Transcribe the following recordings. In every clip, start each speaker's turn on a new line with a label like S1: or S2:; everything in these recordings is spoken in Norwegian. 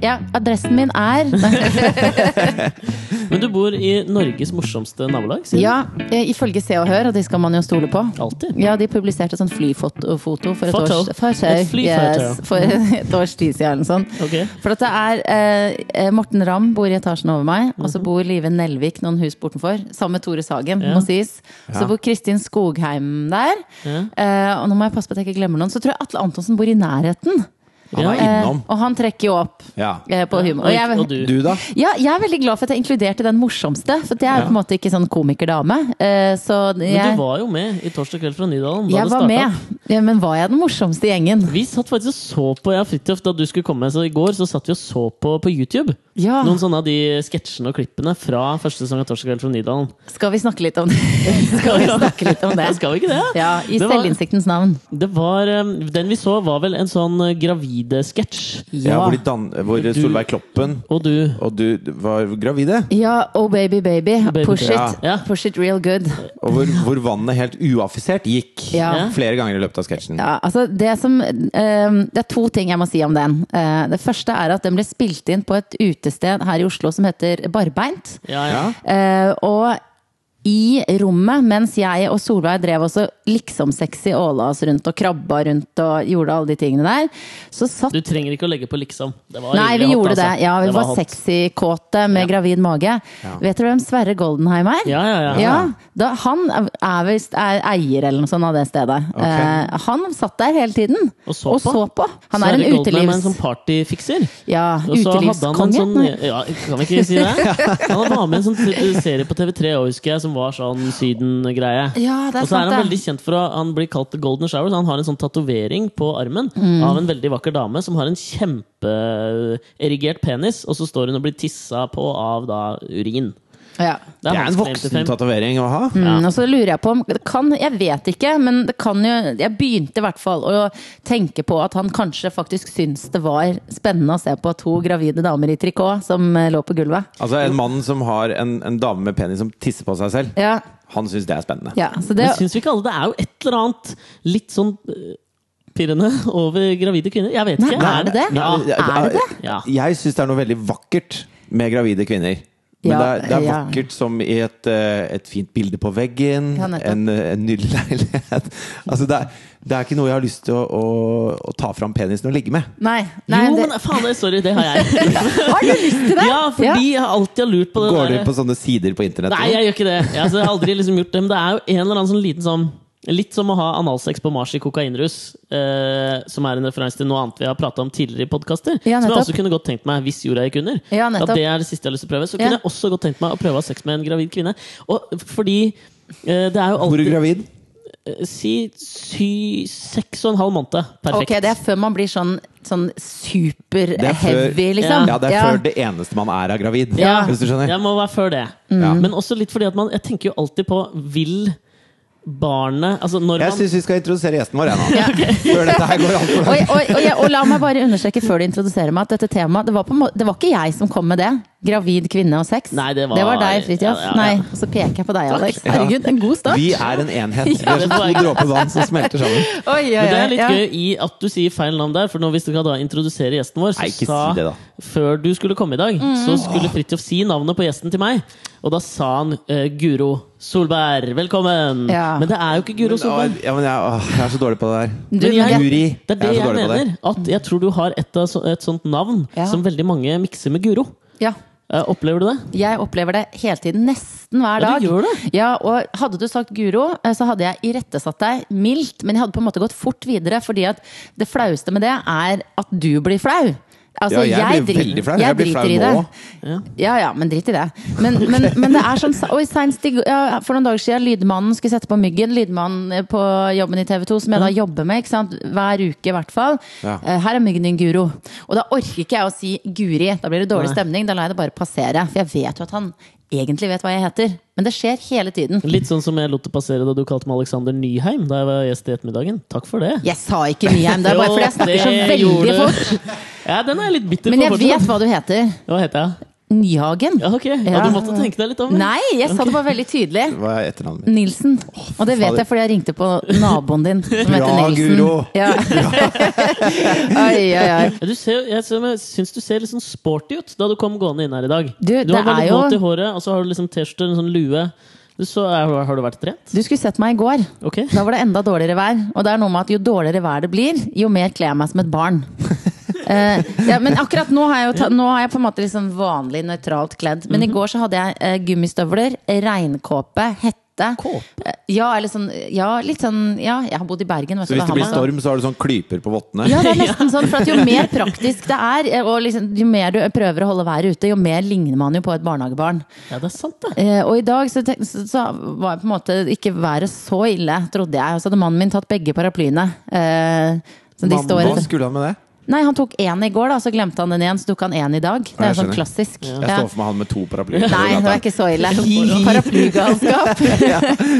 S1: ja, adressen min er
S2: Men du bor i Norges morsomste nabolag? sier du?
S1: Ja, eh, ifølge Se og Hør, og de skal man jo stole på.
S2: Alltid?
S1: Ja, de publiserte sånn flyfoto foto for et
S2: Foto?
S1: års for,
S2: Et flyfoto. Mm.
S1: yes, for et års tid siden. eller noe sånt.
S2: Ok.
S1: For at det er eh, Morten Ramm bor i etasjen over meg, og så bor Live Nelvik noen hus bortenfor. Sammen med Tore Sagen,
S2: Mhm. Ja.
S1: må sies. Så bor Kristin Skogheim der. Eh, og nå må jeg passe på at jeg ikke glemmer noen. Så tror jeg Atle Antonsen bor i nærheten.
S3: Han er
S1: Eh,
S3: innom.
S1: og han trekker jo opp
S3: Ja.
S1: eh, på humor.
S2: Og,
S1: jeg-
S2: ikke- og du?
S3: Du, da?
S1: ja, jeg er veldig glad for at jeg inkluderte den morsomste. For jeg er jo på en måte ikke sånn komikerdame. eh, Så
S2: Men du
S1: jeg,
S2: var jo med i Torsdag kveld fra Nydalen. da
S1: jeg
S2: det
S1: var
S2: startet.
S1: med. Ja, men var jeg den morsomste i gjengen?
S2: Vi satt faktisk og så på jeg og Fridtjof da du skulle komme. Så I går så satt vi og så på på YouTube
S1: Ja.
S2: noen sånne av de sketsjene og klippene fra første sesong av Torsdag kveld fra Nydalen.
S1: Skal vi snakke litt om det? Skal vi snakke litt om det?
S2: Ja, skal vi ikke det?
S1: Ja, I
S2: Det var-
S1: selvinnsiktens navn.
S2: Det var, um, Den vi så, var vel en sånn uh, gravide-sketsj.
S3: Ja,
S1: Ja.
S3: hvor, de dan hvor Solveig Kloppen
S2: Og du
S3: og du var gravide.
S1: Ja, oh baby, baby.
S2: Baby,
S1: Push it.
S3: ja.
S2: Ja.
S1: Push it real good.
S3: Og hvor, hvor vannet helt uaffisert gikk
S1: Ja.
S3: flere ganger i løpet av sketsjen.
S1: Ja, altså det, som, eh, det er to ting jeg må si om den. Eh, det første er at den ble spilt inn på et utested her i Oslo som heter Barbeint.
S2: Ja, ja.
S3: Ja.
S1: Eh, og i rommet, mens jeg og Solveig drev også liksom-sexy åla oss rundt og krabba rundt og gjorde alle de tingene der, så satt
S2: Du trenger ikke å legge på liksom. Det var
S1: Nei, vi
S2: rimelig hot,
S1: gjorde
S2: altså.
S1: det. Ja, vi
S2: Det
S1: var
S2: hot.
S1: sexy-kåte med gravid mage. Vet dere hvem Sverre Goldenheim er?
S2: Ja, ja, ja.
S1: Ja, da, han er visst er eier eller noe sånt av det stedet.
S3: Ok.
S1: Eh, han satt der hele tiden
S2: Og så på.
S1: Han
S2: Så
S1: er en
S2: Erik Goldman er
S1: utelivs...
S2: en sånn partyfikser.
S1: Ja,
S2: Og så hadde han en
S1: utelivskonge.
S2: sånn Ja, kan vi ikke si det? Han var med i en sånn t- serie på TV3 også, husker jeg, som var sånn Syden-greie.
S1: Ja, det er
S2: Og så er
S1: sant,
S2: han
S1: det.
S2: veldig kjent for å Han blir kalt The Golden Shower, så han har en sånn tatovering på armen
S1: Mm.
S2: av en veldig vakker dame som har en kjempeerigert penis, og så står hun og blir tissa på av da urin.
S1: Ja.
S3: Det er en
S2: vanskelig å
S3: voksen
S2: identifisere.
S3: tatovering å ha.
S1: Mm, og så lurer jeg på om det kan, Jeg vet ikke, men det kan jo Jeg begynte i hvert fall å tenke på at han kanskje faktisk syns det var spennende å se på to gravide damer i trikot som eh, lå på gulvet.
S3: Altså En mann som har en, en dame med penis som tisser på seg selv,
S1: Ja,
S3: han syns det er spennende.
S1: ja så det
S2: Men syns vi ikke alle det er jo et eller annet litt sånn eh, pirrende over gravide kvinner? Jeg vet
S1: Nei,
S2: ikke.
S1: er det det?
S2: Ja.
S1: Er det det?
S2: Ja.
S3: Jeg syns det er noe veldig vakkert med gravide kvinner. Men
S1: Ja,
S3: det, er, det er
S1: ja.
S3: vakkert som i et, eh, et fint bilde på veggen,
S1: Ja, nettopp.
S3: en, eh, en nydelig leilighet altså det, er, det er ikke noe jeg har lyst til å, å, å ta fram penisen og ligge med.
S1: Nei. nei
S2: jo,
S1: det,
S2: men faen, det- sorry, det har jeg.
S1: har du lyst til det?
S2: Ja, fordi jeg alltid har lurt på det
S3: Går du
S2: der-
S3: inn på sånne sider på internett?
S2: Nei, jeg gjør ikke det. Jeg, altså, jeg har aldri liksom gjort det. Men det er jo en eller annen sånn liten sånn Litt som å ha analsex på Mars i kokainrus, eh, som er en referanse til noe annet vi har prata om tidligere i podkaster.
S1: Ja,
S2: som jeg
S1: nettopp.
S2: også kunne godt tenkt meg hvis jorda gikk under.
S1: Ja, nettopp.
S2: at det er det siste jeg har lyst til å prøve. Så
S1: Ja.
S2: kunne jeg også godt tenkt meg å prøve å ha sex med en gravid kvinne. Og fordi eh, det er jo
S3: Hvor er
S2: alltid
S3: du gravid?
S2: Si sy, seks og en halv måned. Perfekt.
S1: Ok, det er før man blir sånn, sånn
S3: Det er før-
S1: super-heavy, liksom.
S3: Ja, det er
S1: Ja.
S3: før det eneste man er av gravid.
S2: Ja.
S3: Hvis du skjønner?
S2: Jeg må være før det.
S1: Mm.
S3: Ja.
S2: Men også litt fordi at man Jeg tenker jo alltid på Vil barnet Altså når
S3: Jeg
S2: man
S3: syns vi skal introdusere gjesten vår, jeg nå. Før dette her går alt for
S1: Og,
S3: langt.
S1: og, og, jeg- og la meg bare understreke før du introduserer meg at dette temaet Det var, på, en må- det var ikke jeg som kom med det. Gravid kvinne og sex.
S2: Nei, det var-
S1: deg, Fridtjof.
S2: ja, ja, ja.
S1: Nei, og så peker jeg på deg, Alex.
S3: Ja.
S1: Herregud, en god start.
S3: Vi er en enhet. Vi er
S2: det
S3: som
S2: var
S3: to
S2: jeg.
S3: dråper vann som smelter sammen.
S1: Oi, oi, oi,
S2: Men det er litt
S1: ja.
S2: gøy i at du sier feil navn der, for nå hvis du skal da introdusere gjesten vår, så
S3: Nei, ikke si
S2: sa
S3: det da.
S2: før du skulle komme i dag,
S1: Mm.
S2: så skulle Fridtjof si navnet på gjesten til meg. Og da sa han eh, Guro Solberg. Velkommen!
S1: Ja.
S2: Men det er jo ikke Guro
S3: Men, å,
S2: Solberg.
S3: ja, men jeg, åh, jeg er så dårlig på det der.
S1: Du, men jeg-
S3: Guri.
S2: Det er det
S3: jeg er så
S2: jeg,
S3: dårlig på det.
S2: mener. At jeg tror du har et, av så, et sånt navn
S1: Ja.
S2: som veldig mange mikser med Guro.
S1: ja.
S2: Eh, opplever du det?
S1: Jeg opplever det hele tiden, nesten hver
S2: Ja,
S1: dag.
S2: du gjør det.
S1: Ja, og hadde du sagt Guro, eh, så hadde jeg irettesatt deg mildt, men jeg hadde på en måte gått fort videre, fordi at det flaueste med det er at du blir flau. Altså,
S3: Ja, jeg blir
S1: drit-
S3: veldig flau. Jeg blir
S1: driter
S3: flau
S1: i
S3: nå
S1: det.
S3: også.
S1: Ja ja, men drit i det. Men, men, men det er sånn Oi, seinest i går- ja, For noen dager siden, lydmannen skulle sette på Myggen. Lydmannen på jobben i TV 2, som jeg
S2: Mm.
S1: da jobber med ikke sant? hver uke i hvert fall.
S3: Ja.
S1: Eh, Her er Myggen din, Guro. Og da orker ikke jeg å si Guri. Da blir det dårlig
S2: Nei.
S1: stemning. Da lar jeg det bare passere. For jeg vet jo at han egentlig vet hva jeg heter. Men det skjer hele tiden.
S2: Litt sånn som jeg lot det passere da du kalte meg Alexander Nyheim da jeg var gjest i ettermiddagen. Takk for det.
S1: Jeg sa ikke Nyheim, det er bare fordi jeg snakker så
S2: Jo, det
S1: veldig
S2: gjorde du.
S1: fort.
S2: Ja, den er jeg litt bitter
S1: Men
S2: på.
S1: jeg
S2: fortsatt.
S1: vet hva du heter.
S2: Hva heter jeg?
S1: Nyhagen.
S2: Ja, ok. Ja,
S1: Ja.
S2: du måtte tenke deg litt om.
S1: Nei, jeg sa det bare veldig tydelig.
S3: Hva er etternavnet mitt?
S1: Nilsen. Og det vet
S3: fader.
S1: jeg fordi jeg ringte på naboen din, som heter
S3: Bra,
S1: Nilsen.
S3: Guro.
S1: Ja. Oi, oi, oi.
S2: Ja, du ser, jeg ser- jeg syns du ser litt sånn sporty ut da du kom gående inn her i dag.
S1: Du,
S2: har
S1: det
S2: bare litt
S1: er jo-
S2: våt i håret, og så har du liksom T-skjorte, en sånn lue. Du, så er, har du vært trent?
S1: Du skulle sett meg i går.
S2: Ok.
S1: Da var det enda dårligere vær. Og det er noe med at jo dårligere vær det blir, jo mer kler jeg meg som et barn. Eh, ja, men akkurat nå har jeg, jo ta, nå har jeg på en måte liksom vanlig nøytralt kledd. Men
S3: Mhm.
S1: i går så hadde jeg eh, gummistøvler, regnkåpe, hette.
S2: Kåpe?
S1: Eh, ja, eller sånn, ja, litt sånn Ja, jeg har bodd i Bergen. Vet
S3: Så
S1: du,
S3: hvis
S1: da
S3: det
S1: har
S3: blir
S1: man sånn-
S3: storm, så har du sånn klyper på vottene?
S1: Ja, det er nesten sånn, for at jo mer praktisk det er, eh, og liksom, jo mer du prøver å holde været ute, jo mer ligner man jo på et barnehagebarn.
S2: Ja, det er sant, det.
S1: Eh, og i dag så, tenk, så, så var jeg på en måte ikke været så ille, trodde jeg. Og så hadde mannen min tatt begge paraplyene. Eh, så de
S3: Mamma,
S1: står
S3: Hva skulle han med det?
S1: Nei, han tok én i går, da, så glemte han den igjen. Så tok han én i dag. Det er
S3: Ja, jeg
S1: sånn
S3: skjønner.
S1: klassisk.
S3: Jeg
S1: Ja.
S3: står for meg han med to paraplyer.
S1: Nei, det var ikke så ille. Paraplygalskap.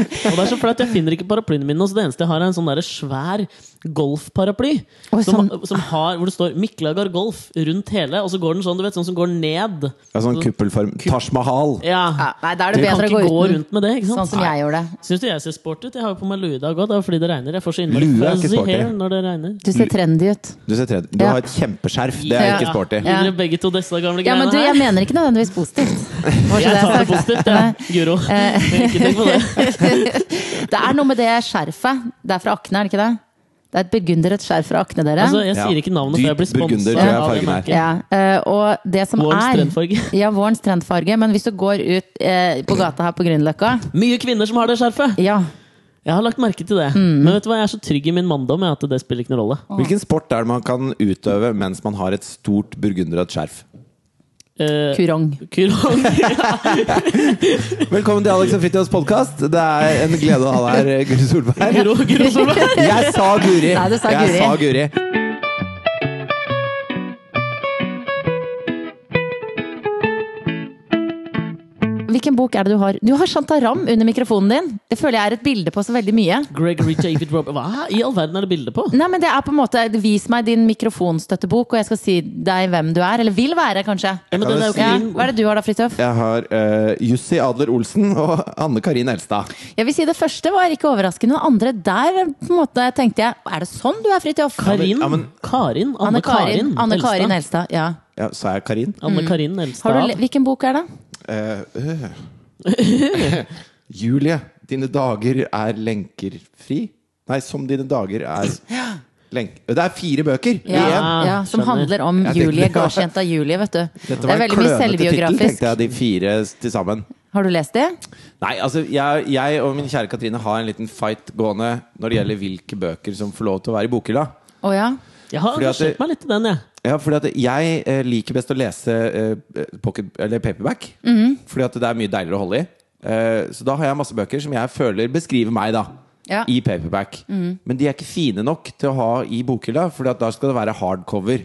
S2: Og det er så flaut, jeg finner ikke paraplyene mine. Så det eneste jeg har, er en sånn der svær golfparaply.
S1: Oi,
S2: Som,
S1: sånn-
S2: som har, hvor det står 'Miklagar Golf' rundt hele, og så går den sånn, du vet, sånn som går ned.
S3: Ja, sånn kuppelform. Taj Mahal.
S1: Ja,
S2: Ja.
S1: nei, da er det
S2: Du kan
S1: bedre å
S2: ikke
S1: gå
S2: gå
S1: uten.
S2: rundt med det, ikke sant?
S1: Sånn som jeg gjorde det.
S2: Syns du jeg ser sporty ut? Jeg har jo på meg lue i dag òg. Det er jo fordi det regner. Jeg får så innmari
S3: Lue er ikke
S2: fuzzy
S3: sporty.
S2: hair når det regner.
S1: Du ser trendy ut.
S3: Du ser tredje. Du
S1: Ja.
S3: har et kjempeskjerf. Det er
S1: Ja.
S3: ikke sporty.
S1: Ja.
S2: Gir dere begge to disse gamle
S1: Ja,
S2: greiene
S1: men du, jeg mener ikke nødvendigvis positivt. Var
S2: her?
S1: ikke
S2: Jeg
S1: det Eh,
S2: tar det
S1: sa.
S2: positivt, jeg. Guro. Ikke tenk på det.
S1: Det er noe med det skjerfet. Det er fra Akne, er det ikke det? Det er et burgunderrødt skjerf fra Akne, dere.
S2: Altså, jeg
S3: Ja.
S2: sier ikke navnet før jeg blir
S3: Dyp burgunder,
S2: sponset
S3: tror jeg
S2: av det
S3: fargen er.
S2: merket.
S1: ja, eh, og det som
S2: Vårens
S1: er
S2: trendfarge.
S1: Ja, vårens trendfarge. Men hvis du går ut eh, på gata her på Grünerløkka
S2: Mye kvinner som har det skjerfet!
S1: Ja.
S2: Jeg har lagt merke til det.
S1: Mm.
S2: Men vet du hva, jeg er så trygg i min manndom jeg, at det spiller ikke noen rolle.
S3: Hvilken sport er det man kan utøve mens man har et stort burgunderrødt skjerf?
S2: Eh,
S1: Kurong.
S2: Kurong.
S3: Velkommen til Alex og Fritjofs podkast. Det er en glede å ha deg her, Guri Solberg.
S2: Guro, Guro Solberg.
S3: Jeg sa Guri!
S1: Nei, du sa
S3: Jeg
S1: Guri.
S3: sa Guri.
S1: Hvilken bok er det du har? Du har Shantaram under mikrofonen din! Det føler jeg er et bilde på så veldig mye.
S2: Gregory David Robert Hva i all verden er det bilde på?
S1: Nei, men det er på en måte Vis meg din mikrofonstøttebok, og jeg skal si deg hvem du er. Eller vil være, kanskje.
S2: Ja, men den er jo
S1: Ja.
S2: ikke min.
S1: Hva er det du har da, Fridtjof?
S3: Jeg har eh, Jussi Adler Olsen og Anne Karin Elstad.
S1: Jeg vil si Det første var ikke overraskende. Det andre der på en måte tenkte jeg Er det sånn du er, Fridtjof?
S2: Karin,
S3: Ja, men-
S2: Karin,
S1: Anne
S2: Anne Karin,
S1: Anne Karin
S2: Elstad.
S1: Elstad. Ja.
S3: Ja, sa jeg Karin?
S2: Anne Karin Elstad.
S1: Har du, le- hvilken bok er det?
S3: Eh, øh. Julie, dine dager er lenker fri? Nei, som dine dager er lenk... Det er fire bøker i
S1: Ja,
S3: én!
S1: ja, Som
S2: skjønner.
S1: handler om
S3: Jeg tenkte-
S1: Julie, gardsjenta Julie, vet du.
S3: Dette
S1: det
S3: var
S1: er
S3: en
S1: veldig mye
S3: klønete tittel,
S1: selvbiografisk.
S3: tenkte jeg, de fire til sammen.
S1: Har du lest det?
S3: Nei, altså, jeg, jeg og min kjære Katrine har en liten fight gående når det gjelder hvilke bøker som får lov til å være i bokhylla.
S1: Å ja?
S2: Jeg har
S3: Fordi at det-
S2: engasjert meg litt i den, jeg.
S3: Ja, fordi at jeg eh, liker best å lese eh, pocket, eller paperback.
S1: Mhm.
S3: Fordi at det er mye deiligere å holde i. Eh, så da har jeg masse bøker som jeg føler beskriver meg, da.
S1: Ja. Mhm.
S3: I paperback. Men de er ikke fine nok til å ha i bokhylla, Fordi at da skal det være hardcover.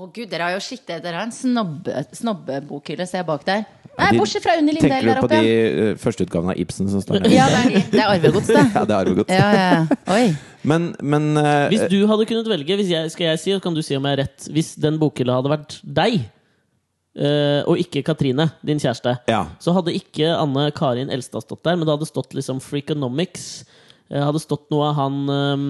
S1: Å gud, dere har jo shit, dere har en snobbe- snobbebokhylle, ser jeg bak der. Nei,
S3: De-
S1: bortsett fra Unni Lindell
S3: Tenker
S1: der
S3: du på
S1: oppe.
S3: de
S1: ja.
S3: eh, førsteutgavene av Ibsen som står der?
S1: Ja, det er de. Det er arvegods, det.
S3: ja, det er jo godt.
S1: Ja, ja, ja. Oi.
S3: Men, men eh,
S2: Hvis du hadde kunnet velge, hvis jeg, skal jeg si, og kan du si om jeg har rett Hvis den bokhylla hadde vært deg, eh, og ikke Katrine, din kjæreste,
S3: Ja.
S2: så hadde ikke Anne Karin Elstad stått der, men det hadde stått liksom Freakonomics. Det hadde stått noe av han ehm,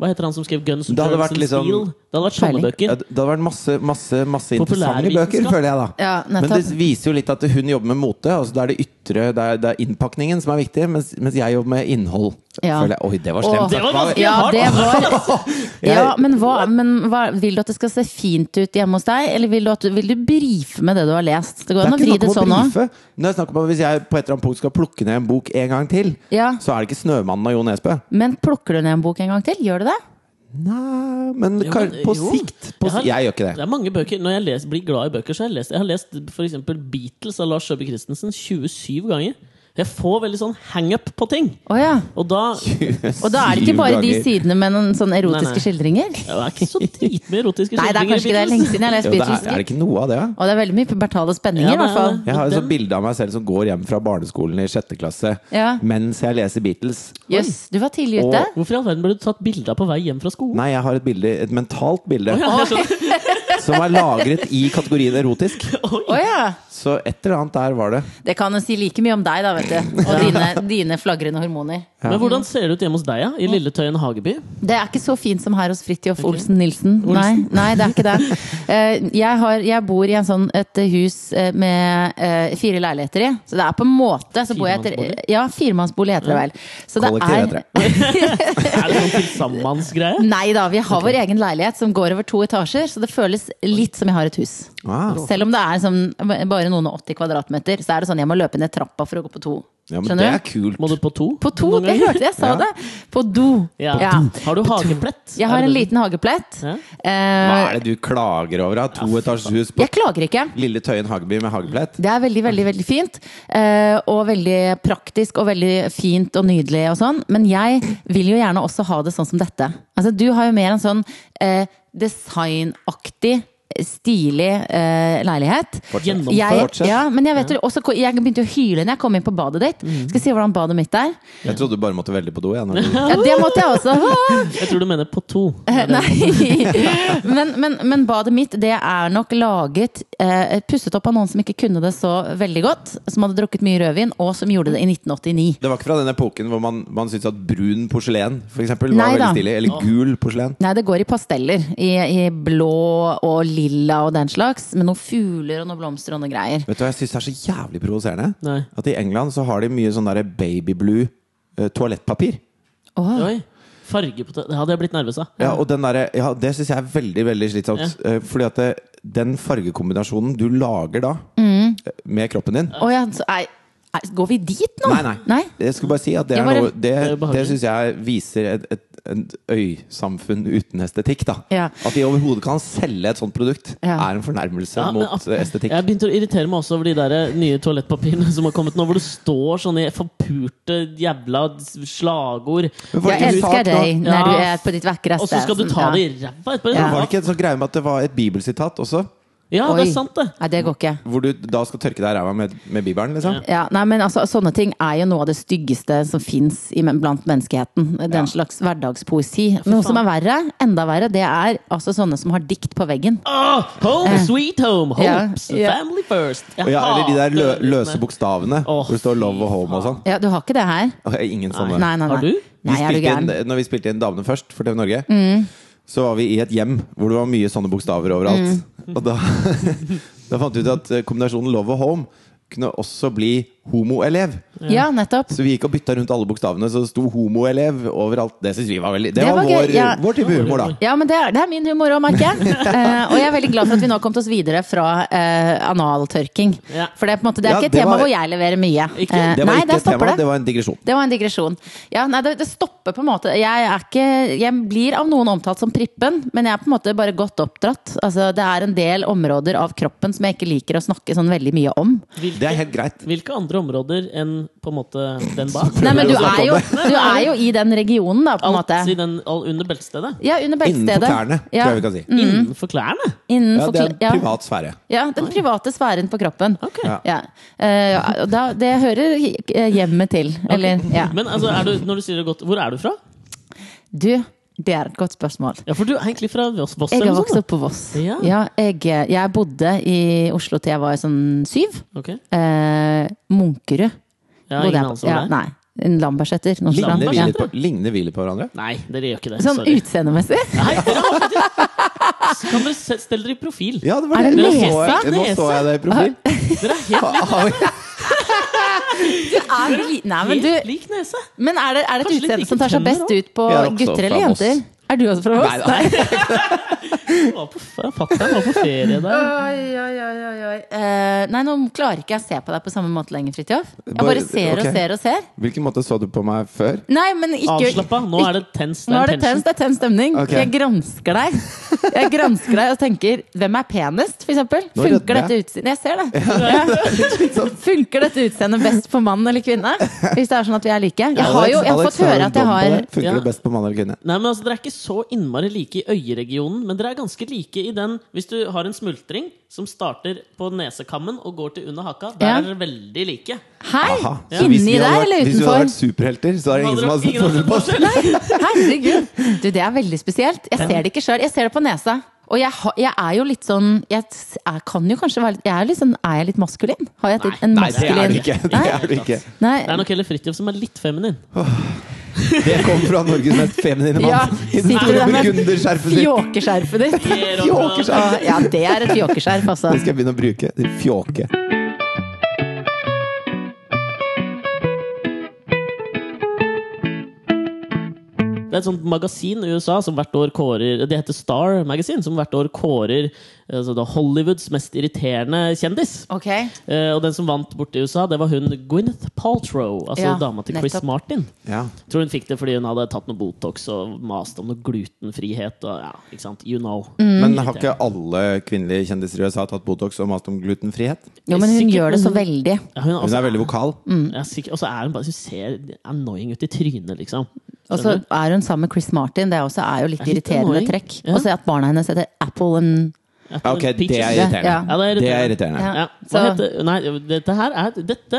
S2: Hva heter han som skrev Guns
S3: Det hadde
S2: Germs,
S3: vært
S2: and
S3: liksom-
S2: Steel? Det hadde vært sånne
S1: Peiling.
S3: Ja,
S2: bøker.
S3: det hadde vært masse, masse, masse interessante
S2: Populærvitenskap.
S3: bøker, føler jeg da.
S1: Ja,
S3: men
S1: nettopp.
S3: det viser jo litt at hun jobber med mote. Altså det er det ytre, det er, det er innpakningen som er viktig, mens, mens jeg jobber med innhold.
S1: Ja.
S3: Føler jeg. Oi, det var
S1: Åh.
S3: slemt.
S2: Det var
S3: sagt.
S2: vanskelig.
S1: Ja, det var
S3: Jeg-
S1: Ja, men hva, men hva Vil du at det skal se fint ut hjemme hos deg, eller vil du, at, du- vil du brife med det du har lest? Det går
S3: Det
S1: an
S3: er
S1: å
S3: ikke
S1: vri
S3: snakk
S1: det
S3: om å
S1: sånn òg.
S3: brife. Men det er snakk om at Hvis jeg på et eller annet punkt skal plukke ned en bok en gang til,
S1: Ja.
S3: så er det ikke 'Snømannen' av Jo Nesbø.
S1: Men plukker du ned en bok en gang til? Gjør du det?
S3: Nei, men, kan-
S2: men,
S3: på
S2: jo.
S3: sikt på,
S2: Jeg har-
S3: si- Jeg gjør ikke
S2: Det
S3: det.
S2: er mange bøker. Når jeg les, blir glad i bøker, så har jeg lest Jeg har lest for eksempel Beatles av Lars Saabye Christensen 27 ganger. Jeg får veldig sånn hang-up på ting.
S1: Å ja.
S2: Og da
S1: Og da er det ikke bare de
S3: Syv ganger.
S1: sidene med noen sånne
S2: Nei, nei.
S1: erotiske skildringer?
S2: Ja, Det er ikke så dritmye erotiske
S1: Nei, det er
S2: skildringer i
S1: kanskje ikke det.
S2: Beatles.
S1: Lenge siden jeg har lest
S3: Jo, det er,
S1: Beatles.
S3: er det ikke noe av det? ja?
S1: Og det er veldig mye pubertale
S2: Ja,
S1: spenninger, i
S2: det er
S1: hvert fall.
S2: det.
S3: Jeg har et
S2: Men
S3: sånt
S2: den-
S3: bilde av meg selv som går hjem fra barneskolen i sjette klasse
S1: Ja.
S3: mens jeg leser Beatles.
S1: Jøss, du var tidlig
S3: Og-
S1: ute.
S2: Hvorfor i all verden ble du tatt bilde av på vei hjem fra skolen?
S3: Nei, jeg har et bilde, et mentalt bilde.
S2: Ja, jeg skjønner.
S3: som er lagret i kategorien erotisk.
S1: Å ja!
S3: Så et eller annet der var det.
S1: Det kan jo si like mye om deg, da, vet du. Og dine, dine flagrende hormoner.
S2: Men hvordan ser det ut hjemme hos deg, ja? i Lilletøyen hageby?
S1: Det er ikke så fint som her hos Fridtjof Olsen Nilsen. Nei, nei, det er ikke det. Eh, Jeg, har, jeg bor i en sånn, et hus eh, med eh, fire leiligheter i, så det er på en måte så bor jeg etter,
S2: Firemannsbolig?
S1: Ja, firmannsbolig heter det vel. Så det
S3: Kollektiv heter
S1: er
S3: det.
S2: Er det sånn tilsammansgreie?
S1: Nei da, vi har vår egen leilighet som går over to etasjer, så det føles litt som jeg har et hus.
S3: Ah.
S1: Selv om det er sånn, bare noen og 80 kvadratmeter, så er det sånn jeg må løpe ned trappa for å gå på do.
S3: Ja, men det
S1: Skjønner
S3: er
S1: du?
S3: kult.
S2: Må du på to?
S1: På to,
S2: noen
S1: jeg
S2: ganger?
S1: hørte det, jeg sa
S3: Ja.
S1: det! På do.
S2: Ja.
S1: Ja.
S2: Har du hageplett?
S1: Jeg
S2: Er
S1: har
S2: det
S1: en
S2: det
S1: liten hageplett.
S2: Ja.
S3: Hva
S1: Eh,
S3: er det du klager over? da? Toetasjes hus på
S1: jeg klager ikke.
S3: Lille Tøyen Hageby med hageplett?
S1: Det er veldig, veldig veldig fint. eh, Og veldig praktisk og veldig fint og nydelig og sånn. Men jeg vil jo gjerne også ha det sånn som dette. Altså, du har jo mer en sånn eh, designaktig, stilig eh, leilighet.
S3: Fortsett.
S2: Gjennomført.
S1: Jeg,
S3: Fortsett.
S1: ja, men jeg, vet, jo også, jeg begynte jo å hyle når jeg kom inn på badet ditt.
S2: Mm.
S1: Skal jeg si hvordan badet mitt er?
S3: Jeg trodde du bare måtte veldig på do. Jeg, når du...
S1: Ja, det måtte jeg også.
S2: Jeg tror du mener på to.
S1: Nei. Men, men, men badet mitt det er nok laget eh, pusset opp av noen som ikke kunne det så veldig godt. Som hadde drukket mye rødvin, og som gjorde det i 1989.
S3: Det var ikke fra den epoken hvor man, man syntes at brun porselen for eksempel, var
S1: Nei da.
S3: veldig stilig. Eller gul porselen.
S1: Nei, det går i pasteller. I, I blå og lilla og den slags. Med noen fugler og noen blomster og noen greier.
S3: Vet du hva jeg syns er så jævlig provoserende?
S2: Nei.
S3: At i England så har de mye sånn derre babyblue eh, toalettpapir.
S1: Åh.
S2: Oi. Farge på det. det hadde jeg blitt nervøs av.
S3: Ja, og den derre- ja, det syns jeg er veldig veldig slitsomt. Eh, Fordi at det, den fargekombinasjonen du lager da,
S1: Mm.
S3: eh, med kroppen din
S1: Å ja, så, nei, nei, går vi dit nå?
S3: Nei, nei. Jeg skulle bare si at det,
S1: Jeg
S3: er
S1: bare-
S3: noe, det,
S2: er
S3: det,
S2: ubehagelig.
S3: syns jeg viser et, et, et øysamfunn uten estetikk. da
S1: Ja.
S3: At de overhodet kan selge et sånt produkt,
S1: Ja.
S3: er en fornærmelse
S2: Ja, men
S3: mot
S2: at-
S3: estetikk.
S2: Jeg begynte å irritere meg også over de der eh, nye toalettpapirene som har kommet nå, hvor det står sånne forpurte jævla slagord.
S3: Men var
S1: Jeg
S3: det ikke en
S1: elsker
S3: sak nå?
S1: deg når du
S2: Ja.
S1: er på ditt vakreste.
S2: Og så skal du ta
S1: Sånn,
S2: det
S1: ja.
S2: i ræva etterpå?
S1: Ja.
S3: Var det ikke en sånn greie med at det var et bibelsitat også?
S2: Ja, det
S1: Oi.
S2: er sant, det.
S1: Nei, det går ikke.
S3: Hvor du da skal tørke deg i ræva med, med bibelen, liksom?
S1: Ja, nei, men altså, sånne ting er jo noe av det styggeste som fins blant menneskeheten. Den slags hverdagspoesi. Noe som er verre, enda verre, det er altså sånne som har dikt på veggen.
S2: Åh, Ah, home sweet home!
S1: Eh. Ja,
S2: Hopes!
S1: ja.
S2: Family first! Jeg
S3: Ja, eller de der lø,
S2: hater
S3: løse
S2: rytme.
S3: bokstavene
S2: Åh,
S3: hvor det står 'love' og 'home' og sånn.
S1: Ja, du har ikke det her?
S3: Og jeg- Ingen sånne.
S1: Nei, nei, nei.
S2: Har du?
S3: Vi
S1: Nei, er du
S3: spilte
S1: gæren?
S3: inn,
S1: Mm.
S3: når vi spilte inn Damene først for TV Norge, så var vi i et hjem hvor det var mye sånne bokstaver overalt.
S1: Mm.
S3: Og da, da fant vi ut at eh, kombinasjonen love og home kunne også bli homoelev.
S1: Ja, nettopp.
S3: Så vi gikk og bytta rundt alle bokstavene, så det sto homoelev overalt. Det synes vi var veldig Det
S1: Det
S3: var,
S1: var gøy,
S3: vår,
S1: ja.
S3: vår type humor, da.
S1: Ja, men det er, det er min humor òg, merker jeg. Eh, og jeg er veldig glad for at vi nå har kommet oss videre fra eh, analtørking.
S2: Ja.
S1: For det er, på en måte, det er
S3: Ja,
S1: ikke et
S3: det
S1: tema
S3: var-
S1: hvor jeg leverer mye.
S2: Ikke?
S1: Eh,
S3: Det var
S1: nei,
S3: ikke
S1: der
S3: et tema,
S1: stopper
S3: det.
S1: det.
S3: var en digresjon.
S1: Det var en digresjon. Ja, nei, det, det stopper på en måte jeg, er ikke, jeg blir av noen omtalt som prippen, men jeg er på en måte bare godt oppdratt. Altså, det er en del områder av kroppen som jeg ikke liker å snakke sånn veldig mye om.
S3: Det er helt greit.
S2: Hvilke andre områder enn på en måte den bak?
S1: Nei, men du
S3: å snakke
S1: er
S3: om
S1: jo, du er jo i den regionen, da, på en
S2: Alt
S1: måte.
S2: i den, all, under beltestedet?
S1: Ja, under beltestedet.
S3: Innenfor klærne,
S1: ja.
S3: tror jeg vi kan si.
S2: Innenfor klærne?
S3: Ja,
S1: Innenfor
S3: det er
S1: kl-
S3: en
S1: ja.
S3: privat sfære.
S1: Ja, den private sfæren på kroppen.
S2: Ok.
S3: Ja.
S1: Ja. Eh, og da, det hører eh, hjemmet til. Eller, ja.
S2: Men altså, er du, når du sier det godt, hvor er du fra?
S1: Du, det er et godt spørsmål.
S2: Ja, for du er egentlig fra Voss. Voss
S1: Jeg
S2: eller
S1: har
S2: noe
S1: vokst
S2: sånt,
S1: opp på Voss.
S2: Ja.
S1: jeg, jeg bodde i Oslo til jeg var sånn syv.
S2: da? Ok.
S1: Eh, Munkerud.
S2: Ja,
S1: bodde
S2: ingen
S1: jeg på.
S2: anelse hvor det er.
S1: nei. En Lambertseter. noe sånt.
S3: Ligner vi
S1: Ja.
S3: litt på, ligner vi litt på hverandre?
S2: Nei, dere gjør ikke det.
S1: Sånn
S2: Sorry.
S1: utseendemessig.
S2: Nei, dere har faktisk- Så kan dere se- stelle dere i profil.
S3: Ja, det
S1: Er
S3: var
S1: det
S3: det. Nå
S1: nese?
S3: så jeg- Nå så jeg det i profil.
S2: Dere er helt,
S1: Er vi li- Nei, men
S2: helt
S1: du
S2: lik nese.
S1: Men er det, er det
S2: Kanskje
S1: et
S2: litt
S1: utseende som tar seg
S2: like tenner
S1: best ut på
S3: Jeg er også
S1: gutter eller
S3: fra Voss.
S1: jenter? Er du også fra Voss?
S3: Nei, nei.
S2: Fatter'n var på ferie der.
S1: Oi, oi, oi, oi, oi. Eh, nei, nå klarer ikke jeg å se på deg på samme måte lenger, Fridtjof. Jeg
S3: Bare-
S1: bare ser
S3: ok.
S1: og ser og ser.
S3: Hvilken måte så du på meg før?
S1: Nei, men ikke
S2: Avslappa. Nå er det tens.
S1: Nå
S2: en
S1: er det tens,
S2: tension.
S1: det er tens stemning.
S3: Ok.
S1: Jeg gransker deg. Jeg gransker deg og tenker 'Hvem er penest?' for eksempel.
S3: Nå rødmer
S1: Funker dette
S3: jeg.
S1: utseendet Jeg ser det. Ja. Funker dette utseendet best på mann eller kvinne? Hvis det er sånn at vi er like. Jeg har jo jeg har
S3: Alex
S1: fått høre
S3: en
S1: at jeg
S3: dom på
S1: har
S3: det. Funker
S2: Ja.
S3: det best på mann eller kvinne?
S2: Nei, men altså, Dere er ikke så innmari like i øyeregionen, men dere er ganske like i den Hvis du har en smultring som starter på nesekammen og går til under haka, der
S1: Ja.
S2: er dere veldig like.
S1: Hei!
S3: Aha. Så hvis vi
S1: Inni
S3: hadde
S1: der
S3: vært-
S1: eller
S3: Hvis vi hadde vært
S1: utenfor?
S3: superhelter, så er det ingen som hadde sett
S2: Ingen hadde
S3: forskjell på oss.
S2: sett forskjell.
S1: Herregud! Du, det er veldig spesielt. Jeg ser det ikke sjøl. Jeg ser det på nesa. Og jeg, har- jeg er jo litt sånn Jeg, s- er- kan jo kanskje være litt Jeg er litt sånn Er jeg litt maskulin? Har jeg et,
S2: Nei,
S1: en
S3: Nei, det
S1: maskulin
S3: er du ikke. Det er du ikke.
S1: Nei.
S2: Det er nok heller Fridtjof som er litt feminin.
S3: Det kom fra Norges mest feminine mann.
S1: Ja,
S3: I det
S1: sitter du
S3: store
S1: der med
S3: burgunderskjerfet sitt.
S1: Fjåkeskjerfet ditt.
S3: Fjåkeskjerf.
S1: Ah, Ja, det er et fjåkeskjerf, altså.
S3: Det skal jeg begynne å bruke. Fjåke.
S2: Det er et sånt magasin i USA som hvert år kårer Det heter Star Magazine, som hvert år kårer altså, da Hollywoods mest irriterende kjendis.
S1: Ok.
S2: Eh, og den som vant borte i USA, det var hun Gwyneth Paltrow. Altså
S1: Ja,
S2: dama til Chris
S1: nettopp.
S2: Martin.
S3: Ja.
S2: Tror hun fikk det fordi hun hadde tatt noe Botox og mast om noe glutenfrihet. Og, ja, ikke sant? You know.
S1: Mm.
S3: Men har ikke alle kvinnelige kjendiser i USA tatt Botox og mast om glutenfrihet?
S1: Jo, men hun
S2: Sikkert,
S1: gjør det så
S2: men-
S1: veldig.
S2: Ja, hun, er
S3: Hun
S1: Altså-
S2: også, Mm.
S3: er veldig vokal.
S2: ja, sikkert, og så er hun bare Hun ser annoying ut i trynet, liksom.
S1: Og så er hun sammen med Chris Martin. Det er også er jo litt
S2: Er litt
S1: irriterende
S2: annoying.
S1: trekk.
S2: Ja.
S1: Og så at barna hennes heter Apple and
S3: Ja, Ok, det er irriterende.
S1: Ja.
S2: det er
S3: Det er
S2: irriterende.
S3: irriterende.
S1: Ja.
S2: Ja. Hva
S1: Så-
S2: heter, nei, dette her er dette,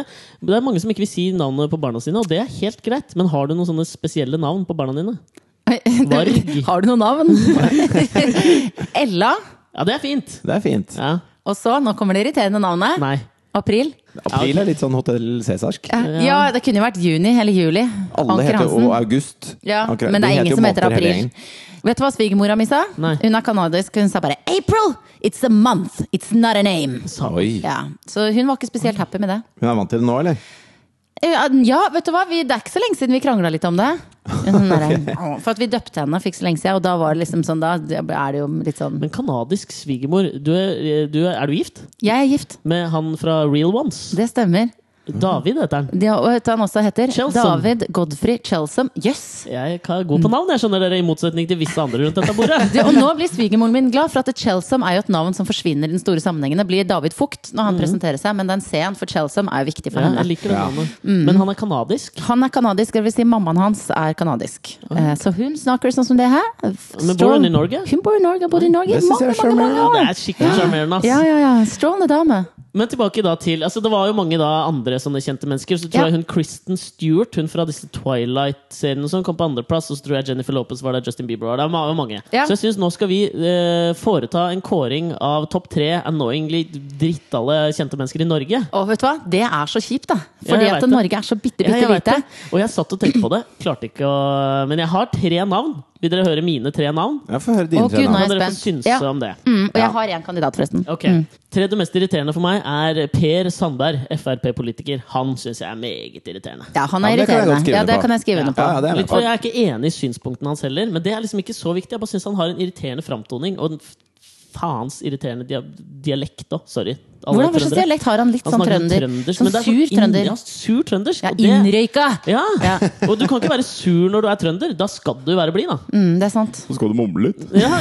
S2: Det er mange som ikke vil si navnet på barna sine, og det er helt greit. Men har du noen sånne spesielle navn på barna dine? Varg.
S1: Har du noe navn? Ella.
S2: Ja, det er fint!
S3: Det er fint.
S2: Ja,
S1: Og så, nå kommer det irriterende navnet.
S2: nei.
S1: April.
S3: April er litt sånn Hotell Cæsarsk.
S1: Ja, det kunne jo vært juni eller juli.
S3: Alle heter jo August.
S1: Ja,
S3: Akkurat.
S1: men det
S3: De
S1: er ingen
S3: jo
S1: som heter
S3: måneder hele
S1: april.
S3: gjengen.
S1: Vet du hva svigermora mi sa?
S2: Nei.
S1: Hun er kanadisk. Hun sa bare 'April! It's a month! It's not a name'.
S2: Sa-
S3: Oi.
S1: Ja, Så hun var ikke spesielt happy med det.
S3: Hun er vant til det nå, eller?
S1: Eh, Ja, vet du hva? Vi, det er ikke så lenge siden vi krangla litt om det. Sånn der, «Åh», For at vi døpte henne for ikke så lenge siden, og da var det liksom sånn Da er det jo litt sånn
S2: Men kanadisk svigermor, du er, du er, er du gift?
S1: Jeg er gift.
S2: Med han fra Real Ones?
S1: Det stemmer.
S2: David heter han.
S1: De har, og vet du hva han også heter?
S2: Chelsom.
S1: David Godfrey Chelsom. Jøss! Yes.
S2: Jeg er god på navn, jeg skjønner dere, i motsetning til visse andre rundt dette bordet.
S1: Du, Og nå blir svigermoren min glad, for at Chelsom er jo et navn som forsvinner i den store sammenhengen. Det blir David Fugt når han presenterer seg, men den C-en for Chelsom er jo viktig for
S2: Mm. Ja, jeg
S1: henne.
S2: liker det navnet.
S1: Mm.
S2: Men han er kanadisk.
S1: Han er kanadisk, det vil si mammaen hans er kanadisk. Eh, Så hun snakker sånn som det her.
S2: Men bor hun i Norge?
S1: Hun bor i Norge, har bodd i Norge
S3: Det
S1: i
S3: synes jeg
S1: mange,
S3: er
S1: mange, mange
S3: charmerende.
S1: år.
S2: Det er skikkelig sjarmerende, ass.
S1: Ja, ja, ja. Strålende dame.
S2: Men tilbake da til altså Det var jo mange da andre sånne kjente mennesker. Så
S1: Ja.
S2: tror jeg hun Kristen Stewart, hun fra disse Twilight-seriene, som kom på andreplass. Og så tror jeg Jennifer Lopez var der, Justin Bieber var der. ma- Mange.
S1: Ja.
S2: Så jeg syns nå skal vi eh, foreta en kåring av topp tre annoyingly drittalle kjente mennesker i Norge.
S1: Og vet du hva? Det er så kjipt, da.
S2: Ja,
S1: Fordi
S2: jeg
S1: at
S2: vet det.
S1: Norge er så bitte,
S2: Ja,
S1: bitte
S2: jeg vet
S1: lite.
S2: det. Og jeg satt og tenkte på det. Klarte ikke å Men jeg har tre navn. Vil dere høre mine tre navn?
S3: Ja, få høre dine
S1: Å,
S3: tre
S1: Gud, nei.
S3: navn.
S2: Kan
S1: er
S2: dere få
S1: spent.
S2: synse
S1: Ja.
S2: om det?
S1: Mm, og jeg har én kandidat, forresten.
S2: Ok. Tredje mest irriterende for meg er Per Sandberg, Frp-politiker. Han syns jeg er meget irriterende.
S1: Ja, han
S3: Ja,
S1: er
S3: det kan jeg godt
S1: irriterende.
S3: skrive
S1: Ja,
S3: under
S1: det
S3: på.
S1: kan jeg skrive under på.
S3: Ja, ja, det er
S2: Litt,
S3: med
S2: for
S3: på.
S2: jeg er ikke enig i synspunktene hans heller, men det er liksom ikke så viktig. Jeg bare syns han har en irriterende framtoning, og en f- faens irriterende dia dialekt òg. Sorry. Alle
S1: Hvordan, Hva
S2: trøndere.
S1: slags dialekt har han? Litt
S2: Han
S1: sånn
S2: snakker
S1: trønder?
S2: trøndersk,
S1: Sånn
S2: men det er
S1: sur
S2: inn-
S1: trønder?
S2: Ja, sur trøndersk.
S1: Ja,
S2: og det-
S1: innrøyka!
S2: Ja.
S1: Ja.
S2: Og du kan ikke være sur når du er trønder. Da skal du være blid, da.
S1: Mm, det er sant.
S3: Så skal du mumle litt.
S2: Ja.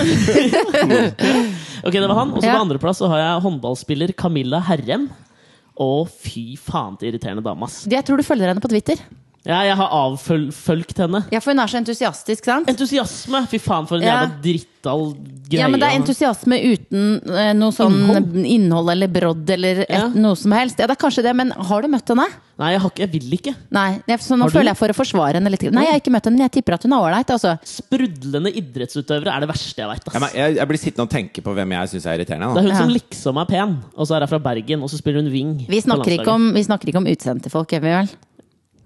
S2: ok, det var han. Og så
S1: Ja.
S2: på andreplass så har jeg håndballspiller Camilla Herrem. Å, fy faen til irriterende dame, ass.
S1: Jeg tror du følger henne på Twitter.
S2: Ja, jeg har avfølgt henne.
S1: Ja, for hun er så entusiastisk, sant?
S2: Entusiasme! Fy faen, for en
S1: Ja.
S2: jævla drittall greie.
S1: Ja, men det er entusiasme uten eh, noe sånn innhold, eller brodd eller et,
S2: Ja.
S1: noe som helst. Ja, det er kanskje det, men har du møtt henne?
S2: Nei, jeg, har ikke, jeg vil ikke.
S1: Nei, jeg- så nå
S2: Har du?
S1: føler jeg for å forsvare henne litt. Nei, jeg har ikke møtt henne, men jeg tipper at hun er ålreit, altså.
S2: Sprudlende idrettsutøvere er det verste jeg veit.
S3: Jeg, jeg, jeg blir sittende og tenke på hvem jeg syns er irriterende.
S2: Det er
S3: Da.
S2: hun som
S1: Ja.
S2: liksom er pen, og så er hun fra Bergen, og så spiller hun wing.
S1: Vi
S2: på
S1: snakker ikke
S2: landslaget.
S1: om, vi snakker ikke om utsendte folk, gjør vi vel?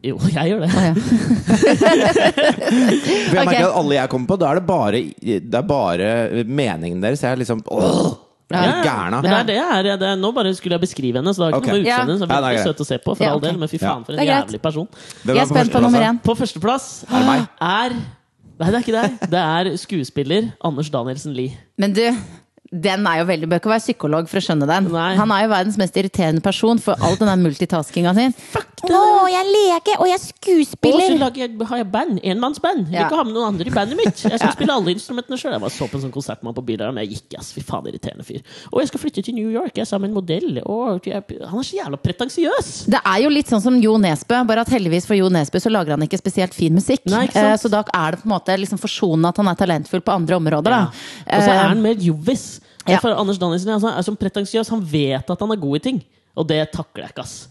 S2: Jo, jeg gjør det.
S1: Å, ja.
S3: For jeg
S1: Ok.
S3: merker at alle jeg kommer på, da er det bare, det er bare meningen deres. Jeg er liksom åh, jeg
S1: Ja.
S3: er
S2: Men
S3: gærna.
S2: det er det jeg er. Det er, nå bare skulle jeg beskrive henne, så det har ikke
S3: Ok.
S2: noe med
S1: Ja.
S2: utseendet. Så
S3: Ja,
S2: veldig
S3: det er greit.
S2: søt å se på, for
S1: Ja,
S2: all
S1: ok.
S2: del, men fy
S3: Ja.
S2: faen, for
S1: Det
S2: en
S1: er greit.
S2: jævlig person.
S3: Hvem
S1: Jeg er
S3: på
S1: spent på
S3: førsteplass,
S1: nummer
S3: da?
S1: én.
S2: På førsteplass
S3: Er det meg?
S2: er Nei, det er ikke deg. Det er skuespiller Anders Danielsen Lie.
S1: Men du, den er jo veldig Bør ikke være psykolog for å skjønne den.
S2: Nei.
S1: Han er jo verdens mest irriterende person for all den der multitaskinga si. Å, jeg er lege, og jeg er
S2: Og så
S1: skuespiller!
S2: lager jeg, har jeg band. Enmannsband. Jeg vil
S1: Ja.
S2: ikke ha med noen andre i bandet mitt. Jeg skal spille alle instrumentene sjøl. Jeg var så på en sånn konsertmann på Bildøren, jeg gikk, ass. Fy faen, irriterende fyr. Og jeg skal flytte til New York, jeg er sammen med en modell. Og jeg, han er så jævla pretensiøs!
S1: Det er jo litt sånn som Jo Nesbø, bare at heldigvis for Jo Nesbø så lager han ikke spesielt fin musikk.
S2: Nei, ikke sant?
S1: Eh, så da er det på en måte liksom forsonende at han er talentfull på andre områder,
S2: Ja.
S1: da. Eh,
S2: Og så er han mer jovis.
S1: ja.
S2: For Anders Danielsen altså, er som pretensiøs. Han vet at han er god i ting. Og det takler jeg ikke, ass.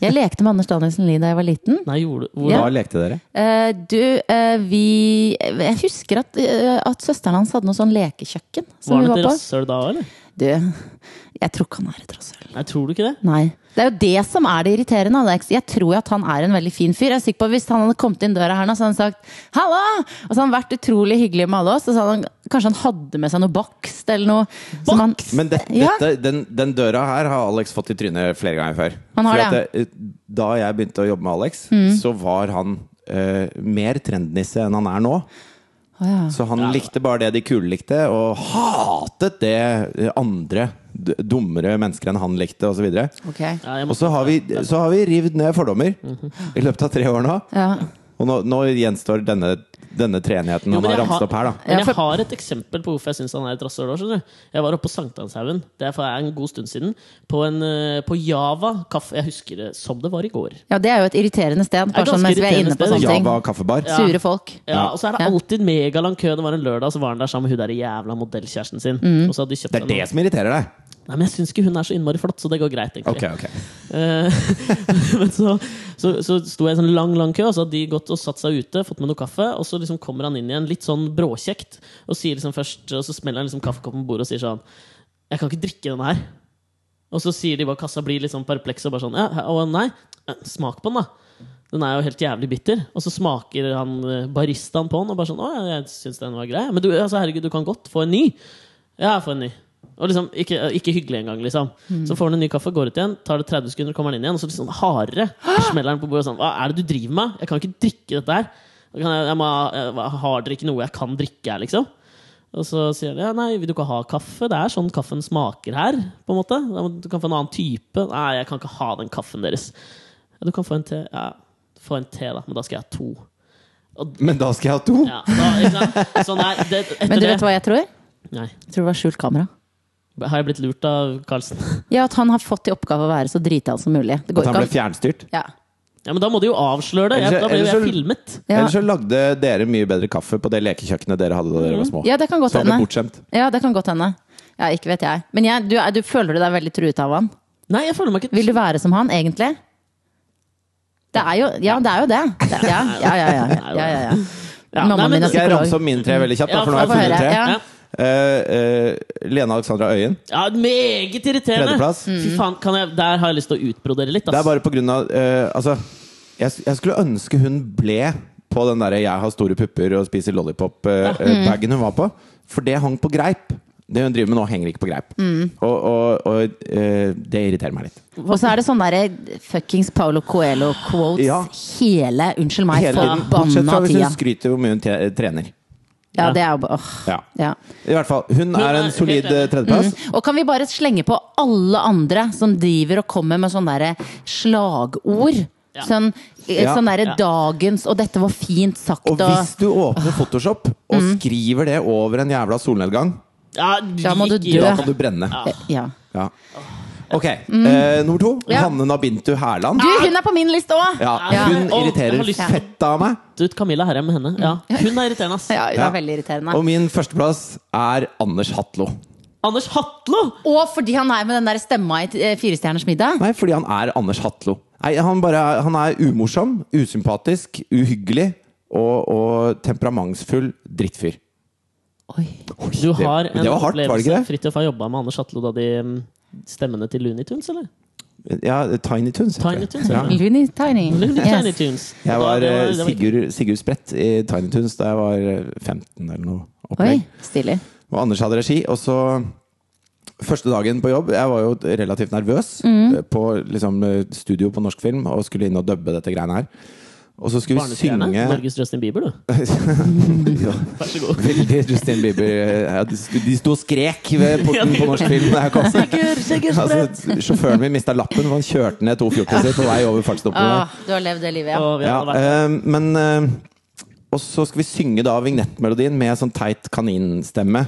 S1: Jeg lekte med Anders Danielsen Lie da jeg var liten.
S2: Nei, gjorde du hvor,
S1: Ja.
S3: Da lekte dere.
S1: Eh, du, eh, vi Jeg husker at, eh, at søsteren hans hadde noe sånn lekekjøkken. Som
S2: Var
S1: vi
S2: han
S1: var
S2: et
S1: på.
S2: rasshøl da òg, eller?
S1: Du, jeg tror ikke han er et rasshøl.
S2: Nei, tror du ikke det?
S1: Nei. Det er jo det som er det irriterende, Alex. Jeg tror jo at han er en veldig fin fyr. Jeg er sikker på at Hvis han hadde kommet inn døra her nå, så hadde han sagt 'halla'! Og så hadde han vært utrolig hyggelig med alle oss. Og så hadde han, kanskje han hadde med seg noe bakst eller noe. som han-
S3: Men det,
S1: Ja.
S3: dette, den, den døra her har Alex fått i trynet flere ganger før.
S1: Han har Mm.
S3: For at det- da jeg begynte å jobbe med Alex, så var han eh, mer trendnisse enn han er nå.
S1: Å, ja.
S3: Så han likte bare det de kule likte, og hatet det eh, andre d- dummere mennesker enn han likte, osv.
S1: Ok.
S2: Ja, jeg
S3: Og
S2: må, Mhm.
S3: så har vi, så har vi rivd ned fordommer i løpet av tre år nå.
S1: Ja.
S3: Og nå, nå gjenstår denne, denne treenigheten
S2: Jo,
S3: han
S2: men
S3: har
S2: jeg
S3: ramset
S2: har-
S3: opp her, da.
S2: Men
S1: Ja, for-
S2: jeg har et eksempel på hvorfor jeg syns han er et rasshøl. også, skjønner du. Jeg var oppe på Sankthanshaugen det er for en god stund siden. På, en, eh, på Java kaffe. Jeg husker det som det var i går.
S1: ja, det er jo et irriterende sted. Bare
S2: ganske
S1: sånn mens vi er
S2: irriterende
S1: inne på
S2: sted.
S1: sånne ting.
S3: Java kaffebar.
S2: Ja.
S1: Sure folk.
S2: Ja, Og så er det
S1: Ja.
S2: alltid megalang kø. Det var en lørdag, så var han der sammen med hun der jævla modellkjæresten sin.
S1: Mm.
S2: Og så hadde de kjøpt
S3: Det er
S2: en-
S3: det som irriterer deg.
S2: Nei, men Jeg syns ikke hun er så innmari flott, så det går greit. egentlig
S3: Ok, ok.
S2: Eh, Men så, så, så sto jeg i en sånn lang lang kø, og så hadde de gått og satt seg ute, fått med noe kaffe, og så liksom kommer han inn igjen, litt sånn bråkjekt, og sier liksom først Og så smeller han liksom kaffekoppen på bordet og sier sånn Jeg kan ikke drikke denne her. Og så sier de bare kassa blir litt sånn perpleks og bare sånn ja, Å nei, eh, smak på den, da. Den er jo helt jævlig bitter. Og så smaker han eh, baristaen på den og bare sånn Å ja, jeg syns den var grei. Men du, altså, herregud, du kan godt få en ny. Ja, få en ny. Og liksom, ikke, ikke hyggelig engang, liksom. Så får han en ny kaffe, går ut igjen, tar det 30 sekunder, kommer han inn igjen, og så liksom hardere smeller han på bordet og sånn Hva er det du driver med? Jeg kan ikke drikke dette her. Da kan Jeg, jeg, må, ha- jeg har dere ikke noe jeg kan drikke her, liksom? Og så sier han ja, nei, vil du ikke ha kaffe? Det er sånn kaffen smaker her. på en måte. Da må- Du kan få en annen type. Nei, jeg kan ikke ha den kaffen deres. Ja, du kan få en te. Ja, få en te, da. Men da skal jeg ha to.
S3: Men da skal jeg ha to!
S2: Ja, da, ikke sant? Så nei, det, etter
S1: Men du vet
S2: det
S1: hva jeg tror?
S2: Nei.
S1: Jeg tror det var skjult kamera.
S2: Har jeg blitt lurt av Carlsen?
S1: Ja, At han har fått i oppgave å være så drita som mulig. Det
S3: At
S1: går
S3: han ble
S1: ikke an.
S3: fjernstyrt.
S1: Ja.
S2: Ja, men da må du jo avsløre det. Jeg,
S3: Ellers-
S2: da ble jo
S3: ellers
S2: jeg
S3: så-
S2: filmet.
S1: Ja.
S3: Ellers så lagde dere mye bedre kaffe på det lekekjøkkenet dere hadde da dere var små.
S1: ja, det kan godt
S3: så han ble
S1: hende.
S3: bortskjemt.
S1: Ja, det kan godt hende. Ja, ikke vet jeg. Men jeg, du, er- du føler du deg veldig truet av han?
S2: Nei, jeg føler meg ikke
S1: Vil du være som han, egentlig? Det er jo Ja, det er jo det. det ja, ja, ja. ja, ja, ja, ja,
S2: Ja, nei,
S1: Mammaen
S2: men
S1: min er
S2: det-
S3: Skal jeg
S1: psykolog.
S3: ramse opp mine tre veldig kjapt, da,
S2: Ja,
S3: for nå har
S1: få
S3: jeg funnet
S1: høre.
S3: tre?
S1: Ja.
S2: Ja.
S3: Eh, eh, Lene Alexandra Øyen,
S2: ja, meget irriterende!
S3: tredjeplass.
S2: Fy
S1: Mm.
S2: faen, kan jeg, Der har jeg lyst til å utbrodere litt.
S3: Det er
S2: Ass.
S3: bare på grunn av eh, Altså, jeg, jeg skulle ønske hun ble på den derre 'jeg har store pupper og spiser
S1: Mm.
S3: lollipop'-bagen hun var på. For det hang på greip. Det hun driver med nå, henger ikke på greip.
S1: Mm.
S3: Og, og, og eh, det irriterer meg litt.
S1: Og så er det sånne derre fuckings Paulo Coelho-quotes
S3: Ja.
S1: hele Unnskyld meg,
S3: Hele tiden, bortsett fra
S1: forbanna
S3: hvis
S1: tida.
S3: hun skryter hvor mye hun te- trener.
S1: Ja, det er jo bare åh.
S3: Ja.
S1: Ja. Mm.
S3: I hvert fall. Hun er en
S2: er
S3: solid
S2: helt enig.
S3: eh, tredjeplass.
S1: Og kan vi bare slenge på alle andre som driver og kommer med sånne der slagord?
S2: Ja.
S1: Sånn, eh,
S3: Ja.
S1: sånn derre
S2: Ja.
S1: 'dagens' og 'dette var fint sagt'
S3: Og
S1: og,
S3: hvis du åpner Photoshop og
S1: Mm.
S3: skriver det over en jævla solnedgang,
S2: Ja,
S1: Da må du
S2: gikk
S1: dø.
S2: i-
S3: da kan du brenne.
S1: Eh, Ja. Mm.
S3: Ja. Ok, eh, nummer to.
S1: Ja.
S3: Hanne Nabintu Hærland.
S1: Du, hun er på min liste òg!
S3: Ja,
S2: Ja.
S3: hun
S2: Å, jeg
S3: irriterer
S2: har lyst til-
S3: fett av meg.
S2: ut Camilla Herrem med henne. Ja. Hun er irriterende, ass.
S1: Mm. Ja, hun
S3: Ja.
S1: er veldig irriterende.
S3: Og min førsteplass er Anders Hatlo.
S2: Anders Hatlo!
S1: Og fordi han er med den der stemma i eh, Firestjerners middag.
S3: Nei, fordi han er Anders Hatlo. Nei, han, bare, er- han er umorsom, usympatisk, uhyggelig og, og temperamentsfull drittfyr.
S1: Oi.
S2: Du har
S3: det,
S2: en
S3: det var hardt, var det ikke
S2: opplevelse.
S3: det?
S2: Fridtjof har jobba med Anders Hatlo da de mm, Stemmene til Looney Tunes, eller?
S3: Ja, Tiny Tunes. heter
S2: Tiny
S3: det.
S2: Toons,
S3: ja.
S2: ja.
S1: Looney Tiny.
S2: Looney
S1: Yes.
S2: Tiny Tunes.
S3: Jeg
S2: Og da-
S3: var
S2: det
S3: eh,
S2: det var-
S3: Sigurd, Sigurd Sprett i Tiny Tunes da jeg var eh, 15 eller noe.
S1: Oi,
S3: Opplegg.
S1: stilig.
S3: Og Anders hadde regi. Og så Første dagen på jobb, jeg var jo relativt nervøs eh, på liksom, eh, studio på norsk film og skulle inn og dubbe dette greiene her. Og så skulle vi
S2: Barnestjerne.
S3: synge
S2: Norges Justin Bieber, du.
S3: Ja,
S2: Vær så god.
S3: Veldig Justin Bieber. eh, ja, De sto- de sto og skrek ved porten på norsk film da jeg kom. Altså, sjåføren min mista lappen, for han kjørte ned 214-er på vei over fartsdommene.
S1: Ah, du har levd det livet, ja.
S2: Og vi
S3: Ja,
S2: hadde vært
S3: eh, men eh, Og så skal vi synge da vignettmelodien med sånn teit kaninstemme.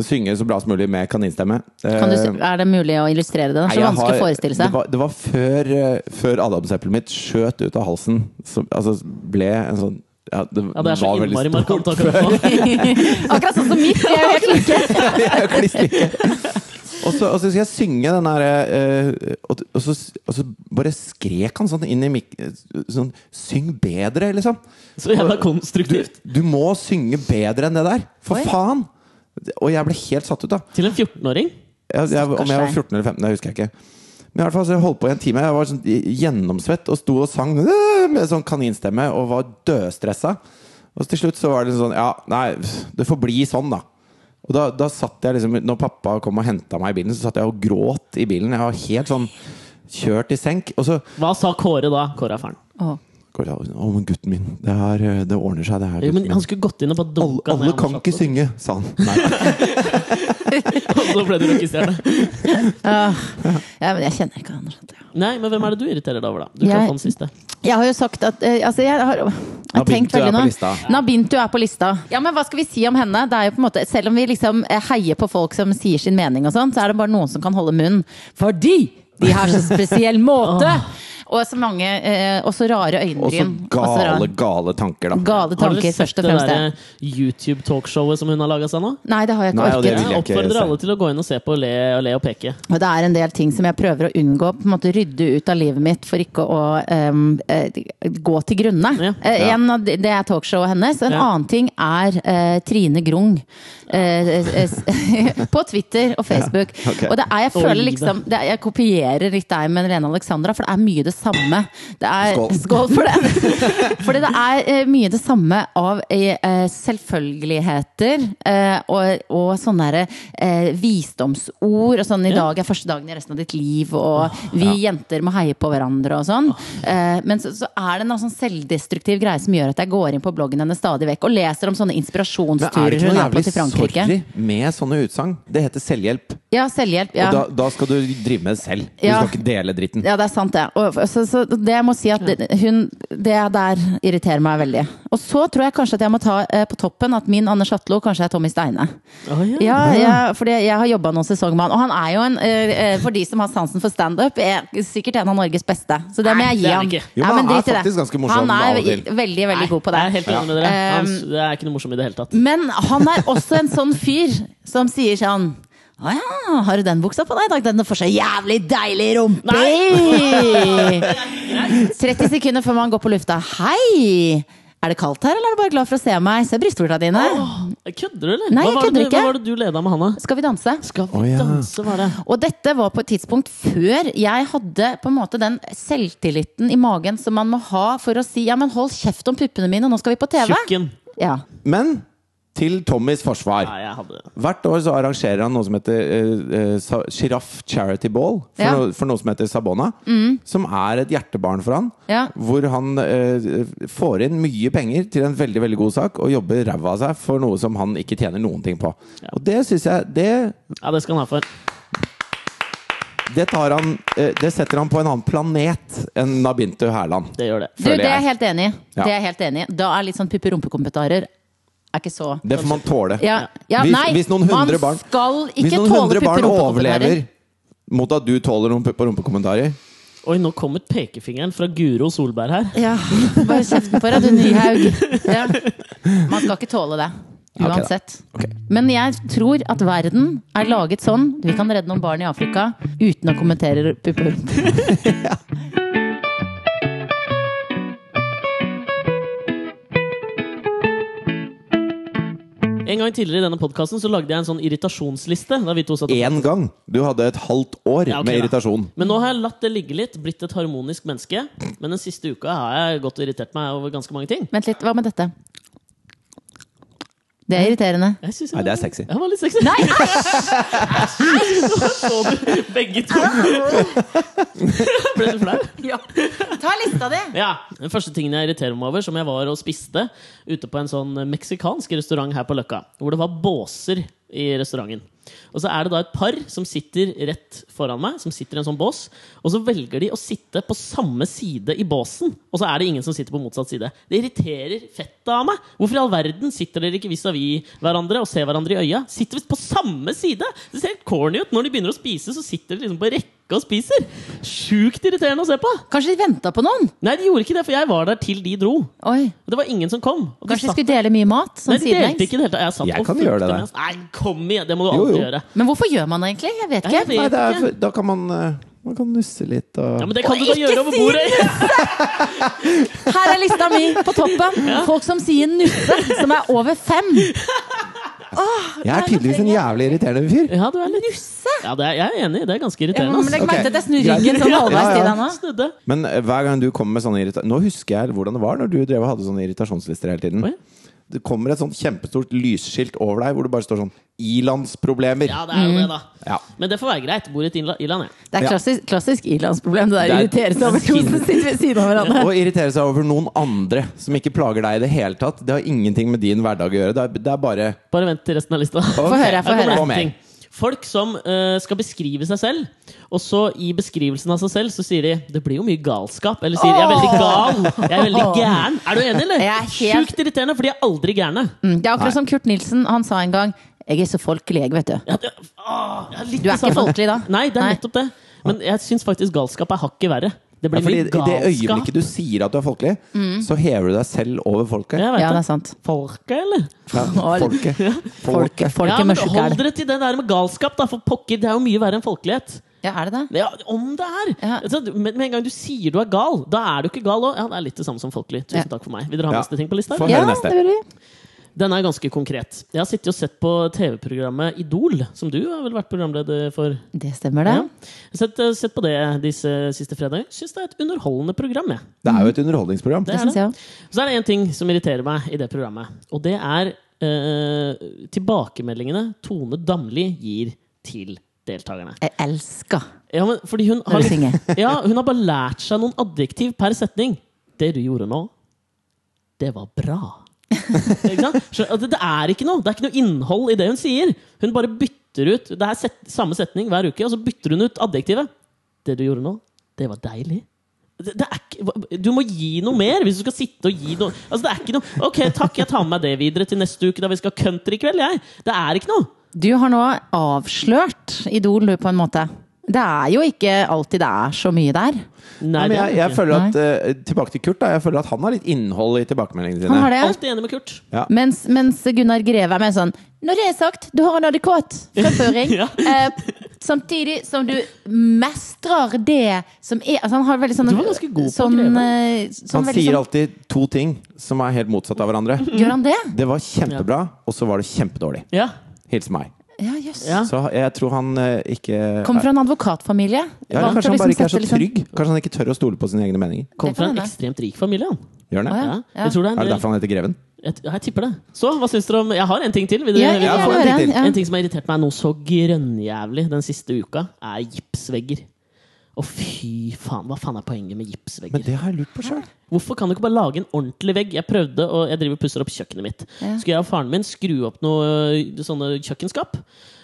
S3: Synge så bra som mulig med kaninstemme. Eh,
S1: Kan du, s- er det mulig å illustrere det? Det er så
S3: nei, jeg
S1: vanskelig å
S3: har-
S1: forestille
S3: Det
S1: seg.
S3: var, det var før, eh, før adamseplet mitt skjøt ut av halsen. Så, altså ble en sånn ja, det,
S2: Ja, det er så
S3: var veldig
S2: innmari
S3: stort.
S2: markant akkurat nå.
S1: Akkurat sånn som mitt! Jeg er jo helt like.
S3: Jeg klister ikke. Og Og så, og så skal jeg synge den der eh, og, og, så, og så bare skrek han sånn inn i mik... Sånn Syng bedre, liksom!
S2: Så jævla
S3: Du,
S2: konstruktivt.
S3: du må synge bedre enn det der! For
S1: Oi.
S3: faen! Og jeg ble helt satt ut, da.
S2: Til en 14-åring.
S3: Jeg, jeg, om jeg var
S1: Stakkars deg.
S3: 14 eller 15, det husker jeg ikke. Men i hvert fall så jeg holdt på i en time. Jeg var sånn gjennomsvett og sto og sang øh, med sånn kaninstemme og var dødstressa. Og så til slutt så var det sånn Ja, nei, det får bli sånn, da. Og da, da satt jeg liksom Når pappa kom og henta meg i bilen, så satt jeg og gråt i bilen. Jeg var helt sånn kjørt i senk. Og så
S2: Hva sa Kåre da? Kåre er faren.
S1: Åh.
S3: går jeg sånn, Å, men gutten min, det, her, eh, det ordner seg, det her.
S2: Jo,
S3: Gutten
S2: men
S3: min.
S2: han skulle gått inn og bare
S3: Alle,
S2: dunka
S3: alle kan ikke synge, sa han. Nei,
S2: Og så ble du rockestjerne.
S1: Ja, men jeg kjenner ikke han. skjønte jeg.
S2: Nei, men hvem er det du irriterer deg over, da? Du traff
S1: Jeg-
S2: han siste.
S1: Jeg har jo sagt at eh, altså jeg har, jeg har
S3: Nabintu
S1: tenkt
S3: er
S1: veldig nå.
S3: på lista.
S1: Nabintu er på lista. Ja, men hva skal vi si om henne? Det er jo på en måte, selv om vi liksom eh, heier på folk som sier sin mening, og sånn, så er det bare noen som kan holde munn. Fordi de har så spesiell måte! Og så mange eh, Og så rare øyenbryn.
S3: Og så
S1: og så rare-
S3: gale, gale tanker, da.
S1: gale
S2: Har dere
S1: tanker,
S2: sett
S1: først og
S2: det
S1: fremst.
S2: der eh, YouTube-talkshowet som hun har laga seg nå?
S1: Nei, det har jeg ikke
S3: eh? Nei, og det
S1: orket.
S3: vil
S2: Jeg
S3: jeg ikke
S2: oppfordrer
S3: se.
S2: alle til å gå inn og se på Le og, le og peke.
S1: Og det er en del ting som jeg prøver å unngå, på en måte rydde ut av livet mitt for ikke å em, eh, gå til grunne.
S2: Ja.
S1: Eh, en av de, det er talkshowet hennes. En
S2: Ja.
S1: annen ting er eh, Trine Grung. Eh, eh, s- på Twitter og Facebook.
S3: ok.
S1: Og det er, jeg
S2: Og
S1: føler
S2: livet.
S1: liksom det er, Jeg kopierer litt deg med Lene Alexandra, for det er mye det samme. Det er,
S3: Skål.
S1: Skål for det! Fordi det er eh, mye det samme av eh, eh, selvfølgeligheter eh, og, og sånne der, eh, visdomsord og sånn 'i dag er første dagen i resten av ditt liv' og 'vi jenter må heie på hverandre' og sånn. Eh, men så, så er det en sånn selvdestruktiv greie som gjør at jeg går inn på bloggen hennes stadig vekk og leser om sånne
S3: Men er
S1: inspirasjonsturer
S3: det ikke
S1: hun
S3: noe
S1: er på
S3: jævlig
S1: til Frankrike.
S3: sorry med sånne utsagn? Det heter selvhjelp.
S1: Ja, selvhjelp. Ja.
S3: Og da, da skal du drive med det selv. Du
S1: Ja.
S3: skal ikke dele dritten.
S1: Ja, det er sant det. Og, så, så det jeg må si at det- hun, det der irriterer meg veldig. Og så tror jeg kanskje at jeg må ta eh, på toppen at min Anders Hatlo kanskje er Tommy Steine.
S2: Oh,
S1: Ja, jeg, fordi jeg har jobba noen sesonger med han, og han er jo en, eh, eh, for de som har sansen for standup, er sikkert en av Norges beste. Så det må
S2: Nei,
S1: jeg
S2: det
S1: gi
S2: er
S1: ham.
S2: han ikke.
S3: Jo, men
S1: Nei,
S3: han er
S1: drit i det.
S3: faktisk ganske morsom
S1: Han
S3: av og
S1: er
S3: til.
S1: veldig, veldig, god på det.
S2: Jeg er helt enig med dere.
S1: Ja.
S2: Han, det er ikke noe morsom i det hele tatt.
S1: Men han er også en sånn fyr som sier sånn Å ja, har du den buksa på deg i dag? Den får så jævlig deilig rumpe i!» 30 sekunder før man går på lufta. Hei! Er det kaldt her, eller er du bare glad for å se meg? Se brystvorta dine.
S2: Kødder du, eller?
S1: Nei, jeg
S2: hva, var det
S1: kødder
S2: du-
S1: ikke.
S2: hva var det du leda med han, da?
S1: Skal vi danse?
S2: Skal vi
S3: Å, ja.
S2: danse, var det?
S1: Og dette var på et tidspunkt før jeg hadde på en måte den selvtilliten i magen som man må ha for å si ja, men hold kjeft om puppene mine, nå skal vi på TV.
S2: Tjukken.
S1: Ja.
S3: Men til Tommys forsvar.
S2: Nei, jeg hadde
S3: Hvert år så arrangerer han noe som heter eh, Sjiraff Charity Ball, for,
S1: Ja. Mm.
S3: noe, for noe som heter Sabona. Som er et hjertebarn for han.
S1: Ja.
S3: Hvor han eh, får inn mye penger til en veldig veldig god sak, og jobber ræva av seg for noe som han ikke tjener noen ting på. Og det syns jeg det,
S2: Ja, det skal han ha for.
S3: det, tar han, eh, det setter han på en annen planet enn Nabintu Hærland.
S2: Det gjør det.
S1: Du,
S3: Føler
S1: det er
S3: jeg.
S1: jeg helt enig i.
S3: Ja.
S1: Det er jeg helt enig i. Da er litt sånn puppe-rumpe-kommentarer er ikke så
S3: Det får man tåle.
S1: Ja, ja
S3: Hvis-
S1: nei,
S3: hvis noen hundre barn-
S1: man skal
S3: Hvis
S1: ikke
S3: noen
S1: tåle
S3: hundre barn overlever
S1: pupperumpekommentarer.
S3: mot at du tåler noen pupp- og rumpekommentarer
S2: Oi, nå kom et pekefingeren fra Guro Solberg her.
S1: Ja, bare kjeften på deg, du Nyhaug. Ja. Man skal ikke tåle det.
S3: ok da.
S1: Uansett. Men jeg tror at verden er laget sånn. Vi kan redde noen barn i Afrika uten å kommentere pupperumpe.
S2: Mm. En gang tidligere i denne podkasten lagde jeg en sånn irritasjonsliste. Da vi to satt
S3: én gang. Du hadde et halvt år
S2: Ja, ok,
S3: med
S2: da.
S3: irritasjon.
S2: Men nå har jeg latt det ligge litt, blitt et harmonisk menneske. Men den siste uka har jeg gått og irritert meg over ganske mange ting.
S1: Vent litt, hva med dette? Det er irriterende.
S2: Jeg synes jeg
S3: Nei, det er
S2: var-
S3: sexy.
S2: Jeg var litt sexy.
S1: Nei, æsj!
S2: Så du begge to? Ble du flau?
S1: Ta lista di!
S2: Ja. Den første tingen jeg irriterer meg over, som jeg var og spiste ute på en sånn meksikansk restaurant her på Løkka, hvor det var båser i restauranten. Og så er det da et par som sitter rett foran meg, som sitter i en sånn bås, og så velger de å sitte på samme side i båsen, og så er det ingen som sitter på motsatt side. Det irriterer fettet av meg! Hvorfor i all verden sitter dere ikke vis-à-vis hverandre og ser hverandre i øya? Sitter vi på samme side? Det ser helt corny ut. Når de begynner å spise, så sitter de liksom på rekke pakke og spiser. Sjukt irriterende å se på!
S1: Kanskje de venta på noen?
S2: Nei, de gjorde ikke det, for jeg var der til de dro.
S1: Oi.
S2: Og det var ingen som kom. Og de
S1: Kanskje de
S2: satt-
S1: skulle dele mye mat?
S2: Nei,
S1: Sånn
S2: de delte
S1: sidelengs?
S2: ikke i det hele tatt. Jeg, satt
S3: Jeg
S2: og
S3: kan gjøre
S2: fulgte
S3: det.
S2: med. Nei, kom igjen! Det må du
S3: Jo,
S2: alltid
S3: jo.
S2: gjøre.
S1: Men hvorfor gjør man det egentlig? Jeg vet
S2: Nei, jeg
S1: ikke.
S2: vet
S3: Nei, det er,
S2: ikke.
S3: for- da kan man, eh, man kan nusse litt og
S2: Ja, men det
S1: Og
S2: kan du da
S1: ikke
S2: gjøre over
S1: si
S2: bordet!
S1: Her er lista mi på toppen. Folk som sier nusse, som er over fem.
S3: Jeg er tydeligvis en jævlig irriterende fyr.
S2: Ja, du er litt
S1: Nusse?
S2: Ja, det er, jeg er enig. Det er ganske
S1: Ja,
S2: irriterende.
S1: men
S2: ass.
S1: legg
S3: Ok.
S1: merke til at jeg snur ryggen sånn
S2: Ja,
S1: halvveis
S3: ja,
S1: til
S3: ja.
S1: deg nå.
S2: Snudde.
S3: Men eh, hver gang du kommer med sånne irrita Nå husker jeg hvordan det var når du drev og hadde sånne irritasjonslister hele tiden.
S2: Oi.
S3: Det kommer et sånt kjempestort lysskilt over deg hvor det bare står sånn 'Ilandsproblemer'.
S2: Ja, det er jo det, da.
S3: Mm. Ja.
S2: Men det får være greit. Bor i et innla- i-land, jeg.
S1: Det er
S3: Ja.
S1: klassisk, klassisk ilandsproblem. Det der
S3: Det er-
S1: irriterer seg over to som sitter ved siden av hverandre.
S3: Og irritere seg over noen andre som ikke plager deg i det hele tatt. Det har ingenting med din hverdag å gjøre. Det er, det er bare
S2: Bare vent til resten av lista.
S1: Få høre, få
S2: Her kommer
S1: høre.
S3: Kom
S2: en ting.
S3: med.
S2: Folk som eh, skal beskrive seg selv, og så i beskrivelsen av seg selv så sier de 'det blir jo mye galskap'. Eller sier 'jeg er veldig gal', 'jeg er veldig gæren'. Er du enig, eller?
S1: Jeg er helt-
S2: Sjukt irriterende, for de er aldri gærne.
S1: Mm, Det er akkurat som Kurt Nilsen, han sa en gang 'Jeg er så folkelig, jeg, vet du'.
S2: Ja, det- åh, jeg litt
S1: Du er
S2: det samme.
S1: ikke folkelig da?
S2: Nei, det er
S1: Nei.
S2: nettopp det. Men jeg syns faktisk galskap er hakket verre. Det
S3: Ja,
S2: blir
S3: fordi
S2: mye
S3: I det
S2: galskap.
S3: øyeblikket du sier at du er folkelig, så hever du deg selv over folket.
S2: Jeg vet
S1: Mm. Ja, det
S2: det.
S1: er sant.
S2: Folket, eller?
S3: Ja, folket.
S1: Folket,
S3: folket.
S1: folket
S2: ja, men
S1: mørkegæl.
S2: Hold dere til det der med galskap, da, for pokker, det er jo mye verre enn folkelighet.
S1: Ja, er det det?
S2: Ja, om det er!
S1: Ja.
S2: Altså, du- med, med en gang du sier du er gal, da er du ikke gal òg. Ja, det er litt det samme som folkelig. Tusen
S1: Ja.
S2: takk for meg. Vil dere ha
S3: Ja.
S2: neste ting på lista?
S3: Få
S2: eller?
S1: Ja,
S3: høre neste.
S1: det vil vi.
S2: Den er ganske konkret. Jeg har sittet og sett på TV-programmet Idol, som du har vel vært programleder for?
S1: Det stemmer, det.
S2: Ja. Jeg har sett, eh, sett på det disse siste fredager. Syns det er et underholdende program, jeg.
S3: Det er jo et underholdningsprogram.
S1: Det
S2: er
S1: syns jeg òg.
S2: Så er det én ting som irriterer meg i det programmet. Og det er eh, tilbakemeldingene Tone Damli gir til deltakerne.
S1: Jeg elsker
S2: Ja, men fordi hun
S1: når
S2: har,
S1: du synger.
S2: ja, hun har bare lært seg noen adjektiv per setning. Det du gjorde nå, det var bra. Ikke sant? Så, altså, Det er ikke noe Det er ikke noe innhold i det hun sier. Hun bare bytter ut Det er set, samme setning hver uke, og så bytter hun ut adjektivet. Det du gjorde nå, det var deilig. Det, det er ikke, hva- du må gi noe mer hvis du skal sitte og gi noe. Altså, det er ikke noe Ok, takk, jeg tar med meg det videre til neste uke, da vi skal ha country i kveld. Jeg. Det er ikke noe.
S1: Du har nå avslørt Idol, du, på en måte. Det er jo ikke alltid det er så mye der.
S2: Nei,
S3: Ja, men
S2: det er
S3: jeg,
S2: det
S3: jeg
S2: ikke.
S3: føler at eh, Tilbake til Kurt, da. Jeg føler at han har litt innhold i tilbakemeldingene sine.
S1: Han har det.
S2: Alltid enig med Kurt.
S1: Mens, mens Gunnar Greve er mer sånn Når det er sagt, du har en adekvat fremføring.
S2: Ja.
S1: eh, samtidig som du mestrer det som er altså Han har veldig sånn
S2: Du var ganske god på
S1: sånn,
S2: Greve.
S1: eh, sånn
S3: Han
S1: veldig
S3: sier
S1: sånn-
S3: alltid to ting som er helt motsatt av hverandre.
S1: Gjør han det?
S3: Det var kjempebra, og så var det kjempedårlig.
S2: Ja.
S3: Hils meg.
S1: Ja, jøss.
S2: Ja.
S3: Så jeg tror han eh, ikke
S1: Kommer fra en advokatfamilie.
S3: ja,
S1: Vant til
S3: Kanskje
S1: å
S3: han bare ikke er så
S1: sette
S2: liksom?
S1: litt sånn-
S3: trygg? Kanskje han ikke tør å stole på sine egne meninger?
S2: Kom
S1: Det
S2: fra
S1: kan
S2: en
S1: hende.
S2: ekstremt rik familie, han.
S3: Gjør han det?
S1: Å,
S2: Ja.
S1: Ja.
S2: Jeg tror det er,
S3: Er det
S2: en,
S3: derfor han heter Greven?
S2: jeg, jeg tipper det. Så, hva syns dere om Jeg har en ting til. Vil dere,
S1: Ja,
S2: vil
S1: ja,
S2: dere
S3: Ja,
S1: ja,
S2: få
S3: få
S1: jeg
S3: en
S1: hører
S3: til.
S1: den, ja.
S2: En ting som har irritert meg noe så grønnjævlig den siste uka, er gipsvegger. Å, fy faen! Hva faen er poenget med
S3: Men
S2: gipsvegger?
S3: det har jeg lurt på sjøl.
S2: Hvorfor kan du ikke bare lage en ordentlig vegg? Jeg prøvde, og jeg driver og pusser opp kjøkkenet mitt.
S1: Ja.
S2: Skulle jeg og faren min skru opp noen sånne kjøkkenskap?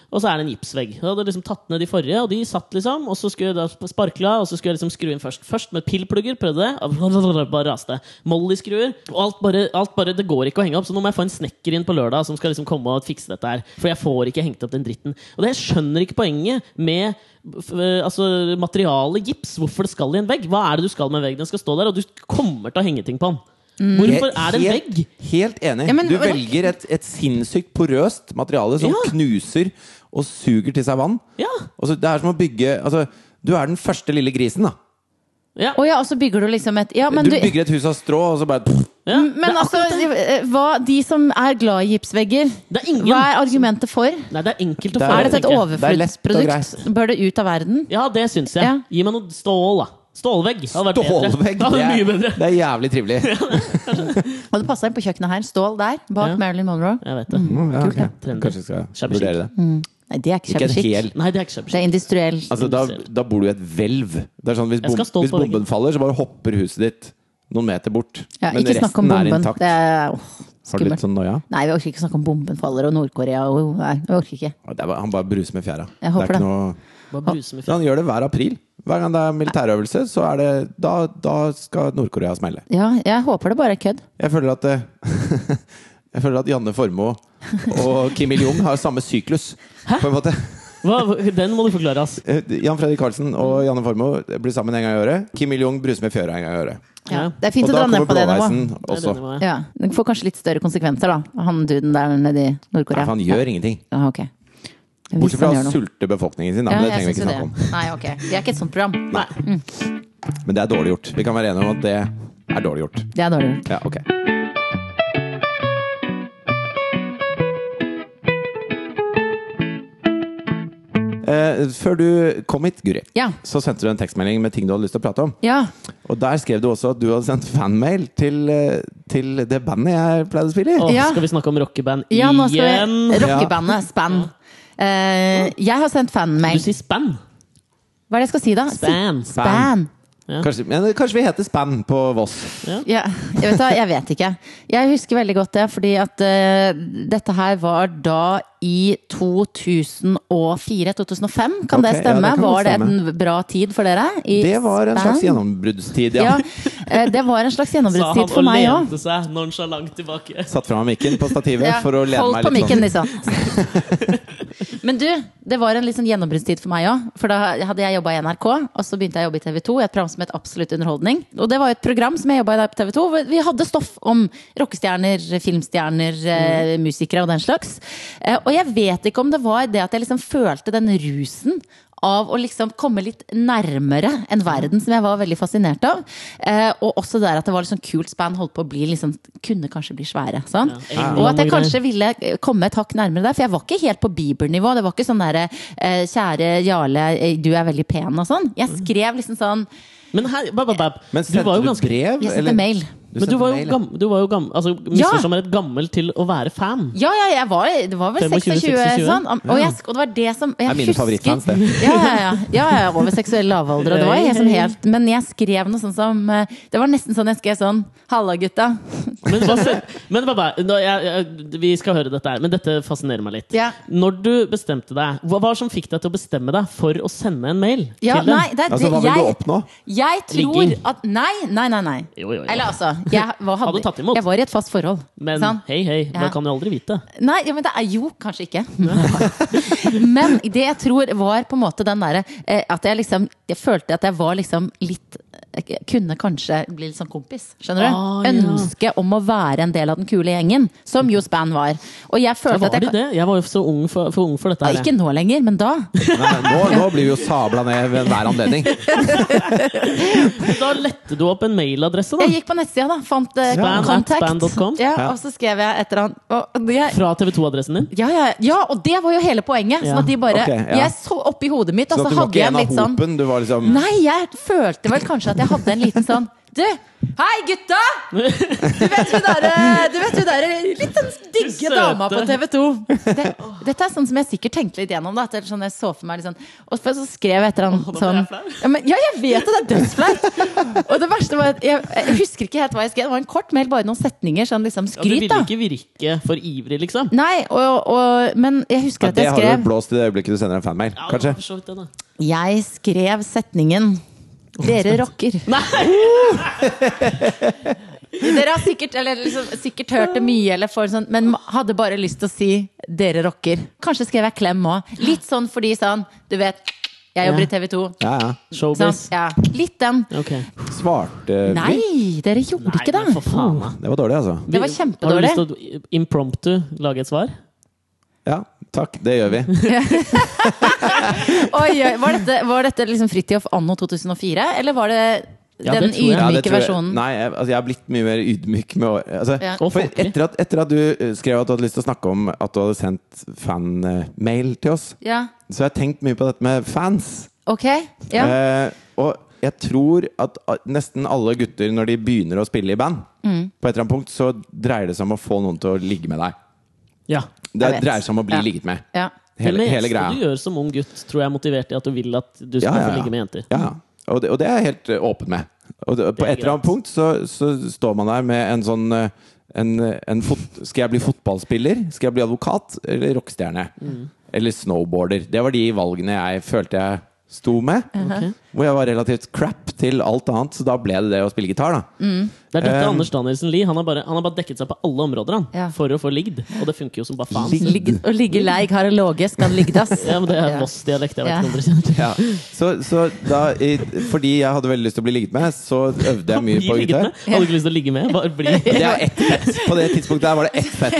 S2: Og så er det en gipsvegg. Jeg hadde liksom tatt ned de forrige, og de satt liksom. Og så skulle jeg da sparkla, og så skulle jeg liksom skru inn først. Først med pillplugger, prøvde det. og Bare raste. Molly-skruer. Og alt bare, alt bare Det går ikke å henge opp, så nå må jeg få en snekker inn på lørdag som skal liksom komme og fikse dette her. For jeg får ikke hengt opp den dritten. Og det jeg skjønner ikke poenget med f- altså, materialet gips. Hvorfor det skal i en vegg? Hva er det du skal med en vegg? Den skal stå der, og du kommer til å henge ting på den. Hvorfor er det en
S3: Helt-
S2: vegg?
S3: Helt enig.
S1: Ja, men-
S3: du
S1: men-
S3: velger et, et sinnssykt porøst materiale som
S2: Ja.
S3: knuser og suger til seg vann.
S2: Ja.
S3: Altså, det er som å bygge altså, Du er den første lille grisen. da
S2: ja.
S1: Å ja, og så bygger du liksom et ja, men
S3: du,
S1: du,
S3: bygger et hus av strå, og så bare
S2: ja.
S1: Men
S2: det, er
S1: altså,
S2: akkurat det.
S1: eh, hva, de som er glad i gipsvegger,
S2: det er ingen
S1: hva er argumentet for? Er
S2: Nei, det er enkelt å
S3: Det er-
S2: få
S1: dette
S2: tenker
S1: et
S2: jeg.
S3: Det er lett og
S1: overflødsprodukt? Bør det ut av verden?
S2: Ja, det syns jeg.
S1: Ja.
S2: Gi meg noe stål, da. Stålvegg. Det hadde vært bedre. Det
S3: Stålvegg! Det
S2: hadde vært mye
S3: er,
S2: bedre.
S3: det er jævlig trivelig.
S1: Og det passer inn på kjøkkenet her. Stål der, bak
S2: Ja.
S1: Marilyn Monroe.
S2: Jeg vet det.
S3: Mm, ja, ok.
S2: Trendy.
S3: Kanskje vi skal
S2: Shabby chic.
S3: vurdere det.
S1: Nei, det er ikke
S3: Ikke en
S1: kjempeskikk.
S3: hel
S2: Nei, det er ikke
S1: Det
S2: kjempeskjønt.
S1: er industriell.
S3: Altså, da, da bor du i et hvelv. Det er sånn, hvis,
S2: Jeg skal
S3: bom,
S2: stå
S3: hvis
S2: på veggen.
S3: bomben faller, så bare hopper huset ditt noen meter bort.
S1: Ja, ikke snakk om bomben. Det er åh,
S3: Har du litt
S1: skummelt.
S3: sånn noia?
S1: Nei, vi orker ikke snakke om bomben faller og Nord-Korea og Nei, vi orker ikke.
S3: Ja, det er bare- Han bare bruser med fjæra.
S1: Jeg håper
S3: det er
S1: det.
S3: ikke noe
S2: Bare bruse med fjell.
S3: Ja, Han gjør det hver april. Hver gang det er militærøvelse, så er det Da, da skal Nord-Korea smelle.
S1: Ja, jeg håper det bare er kødd.
S3: Jeg føler at eh, Jeg føler at Janne Formoe og Kim Il-jung har samme syklus, på en måte.
S2: Hva, den må du forklare, ass.
S3: Eh, Jan Fredrik Karlsen og Janne Formoe eh, blir sammen en gang i året. Kim Il-jung bruser med fjøra en gang i året.
S1: Ja.
S2: Ja.
S1: Det er fint
S3: Og
S1: å
S3: da
S1: dra ned
S3: kommer
S1: på det nivået.
S3: blåveisen
S2: Det er
S3: også.
S2: denne med.
S1: Ja, det får kanskje litt større konsekvenser, da. Han duden der nede i
S3: Nei,
S1: Nord-Korea.
S3: for han gjør ingenting.
S1: Ja, ok.
S3: Bortsett fra å sulte befolkningen sin, da, men det trenger vi ikke snakke om.
S1: Nei, ok. Vi er ikke et sånt program.
S2: Nei.
S3: Men det er dårlig gjort. Vi kan være enige om at det er dårlig gjort.
S1: Det er dårlig.
S3: Ja, ok. Eh, før du kom hit, Guri,
S1: Ja.
S3: så sendte du en tekstmelding med ting du hadde lyst til å prate om.
S1: Ja.
S3: Og der skrev du også at du hadde sendt fanmail til, eh, til det bandet jeg pleide å spille i.
S2: Åh,
S1: Ja.
S2: Skal vi snakke om rockeband
S1: ja, nå skal
S2: igjen?
S1: vi Rockebandet Span. Eh, jeg har sendt
S2: Du
S1: fanmail.
S2: sier span.
S1: Hva er det jeg skal si, da? Si-
S2: Span.
S1: Span.
S3: Kanskje, men kanskje vi heter Span på Voss.
S1: Ja, jeg vet, da, jeg vet ikke. Jeg husker veldig godt det, fordi at eh, dette her var da i 2004-2005. Kan det
S3: Ok, ja,
S1: stemme?
S3: det kan godt
S1: var det
S3: stemme.
S1: en bra tid for dere? I
S3: Det var en
S1: Span?
S3: slags gjennombruddstid, ja.
S1: Ja, eh, det var en slags
S2: Sa han
S1: gjennombruddstid for
S2: og
S1: meg òg.
S2: lente seg nonchalant tilbake.
S3: Satt fra meg mikken på stativet
S1: Ja,
S3: for å lene
S1: Hold
S3: meg
S1: på
S3: litt
S1: mikken,
S3: sånn.
S1: liksom. Men du, det var en litt sånn gjennombruddstid for meg òg. For da hadde jeg jobba i NRK, og så begynte jeg å jobbe i TV 2. Et program som het Absolutt underholdning. Og det var jo et program som jeg jobba i der på TV 2. Hvor vi hadde stoff om rockestjerner, filmstjerner, eh,
S2: Mm.
S1: musikere og den slags. Eh, og jeg vet ikke om det var det at jeg liksom følte den rusen av å liksom komme litt nærmere en verden som jeg var veldig fascinert av. Eh, og også der at det var litt sånn kult span, holdt på å bli liksom, kunne kanskje bli svære. Sant?
S2: Ja.
S1: Og at jeg kanskje ville komme et hakk nærmere der, for jeg var ikke helt på Bieber-nivå. Det var ikke sånn derre eh, 'kjære Jarle, eh, du er veldig pen' og sånn. Jeg skrev liksom sånn
S2: Men her, bab, bab, bab.
S3: Men
S2: du
S3: sendte
S2: var
S3: du,
S2: jo ganske
S3: brev?
S1: Jeg
S3: eller?
S1: sendte mail.
S2: men du
S3: sendte
S2: var jo
S3: mail, ja.
S2: gammel, du var jo gammel altså, misforstå meg rett, gammel til å være fan.
S1: Ja, ja, jeg var, det var vel
S2: 25,
S1: 26,
S2: 26,
S1: sånn. Og, jeg, og det var det som jeg
S3: Det er mine favorittfans, det.
S1: Ja, ja, ja. ja, ja over seksuell lavalder, og det var helt sånn helt Men jeg skrev noe sånn som eh, Det var nesten sånn jeg skrev sånn 'Halla, gutta'.
S2: Men, hva se- men bab, bab, nå, jeg, jeg, vi skal høre dette her, men dette fascinerer meg litt.
S1: Ja.
S2: Når du bestemte deg, hva var det som fikk deg til å bestemme deg for å sende en mail
S1: Ja,
S2: til dem?
S1: nei, det er
S3: Altså,
S1: det
S3: hva vil du
S1: jeg
S3: oppnå?
S1: Jeg tror
S2: Ligging.
S1: at Nei, nei, nei. nei.
S2: Jo, jo, jo.
S1: Eller altså jeg, var, hadde,
S2: Hadde tatt imot.
S1: jeg var i et fast forhold.
S2: Men
S1: sant?
S2: hei, hei,
S1: Ja.
S2: man kan jo aldri vite.
S1: Nei, ja, men det er jo kanskje ikke. Men det jeg tror var på en måte den derre eh, At jeg liksom Jeg følte at jeg var liksom litt jeg kunne kanskje bli litt sånn kompis. Skjønner du?
S2: Ah, ja.
S1: Ønske om å være en del av den kule gjengen, som jo Span var. Og jeg
S2: Ja,
S1: følte
S2: var
S1: at
S2: de
S1: jeg
S2: det? Jeg var jo så ung for, for ung for dette.
S1: ja,
S2: her.
S1: Ikke nå lenger, men da.
S3: Nei, nå, nå blir vi jo sabla ned ved enhver anledning.
S1: Altså,
S2: Da lette du opp en mailadresse, da.
S1: Jeg gikk på nettsida, da. Fant eh,
S2: Span at
S1: Contact.
S2: span.com?
S1: Ja, og så skrev jeg et eller annet. Og det,
S2: Fra TV2-adressen din.
S1: ja, ja, ja, og det var jo hele poenget. Sånn
S2: Ja.
S1: at de bare
S3: Ok, ja.
S1: Jeg så oppi hodet mitt,
S3: Så
S1: og
S3: at
S1: så
S3: du var
S1: hadde
S3: ikke
S1: jeg
S3: en
S1: en
S3: av
S1: litt sånn
S3: hopen. Du var liksom
S1: Nei, jeg følte vel kanskje at jeg hadde en liten sånn Du, hei gutta! Du vet hun derre du vet hun derre litt sånn digge
S2: Søte.
S1: dama på TV 2. Det, dette er sånn som jeg sikkert tenkte litt gjennom. Da, at det er sånn jeg så for meg litt sånn Og så skrev jeg et eller
S2: Åh,
S1: annet
S2: da
S1: sånn
S2: ble jeg flau.
S1: ja, men, ja, jeg vet det! Det er dødsflaut! Og det verste var at jeg, jeg husker ikke helt hva jeg skrev. Det var en kort mail, bare noen setninger. Sånn liksom
S2: Ja, du
S1: skryt,
S2: ville
S1: da.
S2: ikke virke for ivrig, liksom.
S1: Nei, og, og, men jeg husker
S3: Ja,
S1: at
S3: det
S1: jeg
S3: har du
S1: skrev
S3: blåst i det øyeblikket du sender en fanmail,
S2: Ja,
S3: kanskje?
S2: for så vidt det, da.
S1: Jeg skrev setningen Dere rocker.
S2: Nei!
S1: Dere har sikkert, eller liksom, sikkert hørt det mye, eller får sånn, men hadde bare lyst til å si 'dere rocker'. Kanskje skrev jeg klem òg. Litt sånn fordi sånn, du vet, jeg jobber i TV 2.
S3: Ja, ja.
S2: Showbiz.
S1: Sånn, ja. Litt den.
S2: Ok.
S3: Svarte vi?
S1: Nei, dere gjorde ikke
S2: Nei, men for
S1: det!
S2: faen, da.
S3: Det var dårlig, altså.
S1: Det var kjempedårlig.
S2: Har du lyst til å impromptu lage et svar?
S3: Ja, takk. Det gjør vi.
S1: Oi, oi, var dette, var dette liksom Fridtjof anno 2004, eller var det
S2: Ja, det
S1: den
S2: tror jeg.
S3: Ja, det
S1: ydmyke
S3: tror jeg-
S1: versjonen?
S3: Nei, jeg, altså, jeg er blitt mye mer ydmyk med å- altså,
S1: Ja.
S2: Og
S3: for
S2: folkelig.
S3: etter, at, etter at du eh, skrev at du hadde lyst til å snakke om at du hadde sendt fanmail til oss,
S1: Ja,
S3: så har jeg tenkt mye på dette med fans.
S1: ok. Ja.
S3: Eh, og jeg tror at ah, nesten alle gutter, når de begynner å spille i band,
S1: Mm.
S3: på et eller annet punkt så dreier det seg om å få noen til å ligge med deg.
S2: Ja.
S3: Det
S1: vet.
S3: dreier seg om å bli
S1: Ja.
S3: ligget med.
S1: ja.
S3: Hele,
S2: det
S3: hele
S2: eneste
S3: greia.
S2: du gjør som ung gutt, tror jeg er motivert i at du vil at du skal få ligge med jenter.
S3: Ja, ja. Og, det, og det er jeg helt eh, åpen med. Og det, på
S2: Det er
S3: et eller annet
S2: greit.
S3: punkt så, så står man der med en sånn eh, en, en fot, Skal jeg bli fotballspiller? Skal jeg bli advokat? Eller rockestjerne?
S2: Mm.
S3: Eller snowboarder? Det var de valgene jeg følte jeg
S1: Uh-huh.
S3: sto med. Hvor jeg var relativt crap til alt annet, så da ble det det å spille gitar. da
S2: Det er dette
S3: Eh,
S2: Anders Danielsen Lie. Han har bare, han har bare dekket seg på alle områder han,
S1: Ja.
S2: for å få ligd. Og det funker jo som bare faen.
S3: Ligd.
S1: Ligge, å ligge leig har en låge, skal ligdas.
S2: Ja, men Det er
S1: Ja.
S2: Voss-dialekt. Jeg vet
S1: Ja.
S2: ikke om dere kjenner til.
S3: Ja. Så, så da, i, fordi jeg hadde veldig lyst til å bli ligget med, så øvde jeg mye
S2: Bli
S3: på
S2: liggende.
S3: gitar.
S2: Hadde ikke lyst til å ligge med. Bare bli.
S3: Det er ett fett. På det tidspunktet der var det ett fett.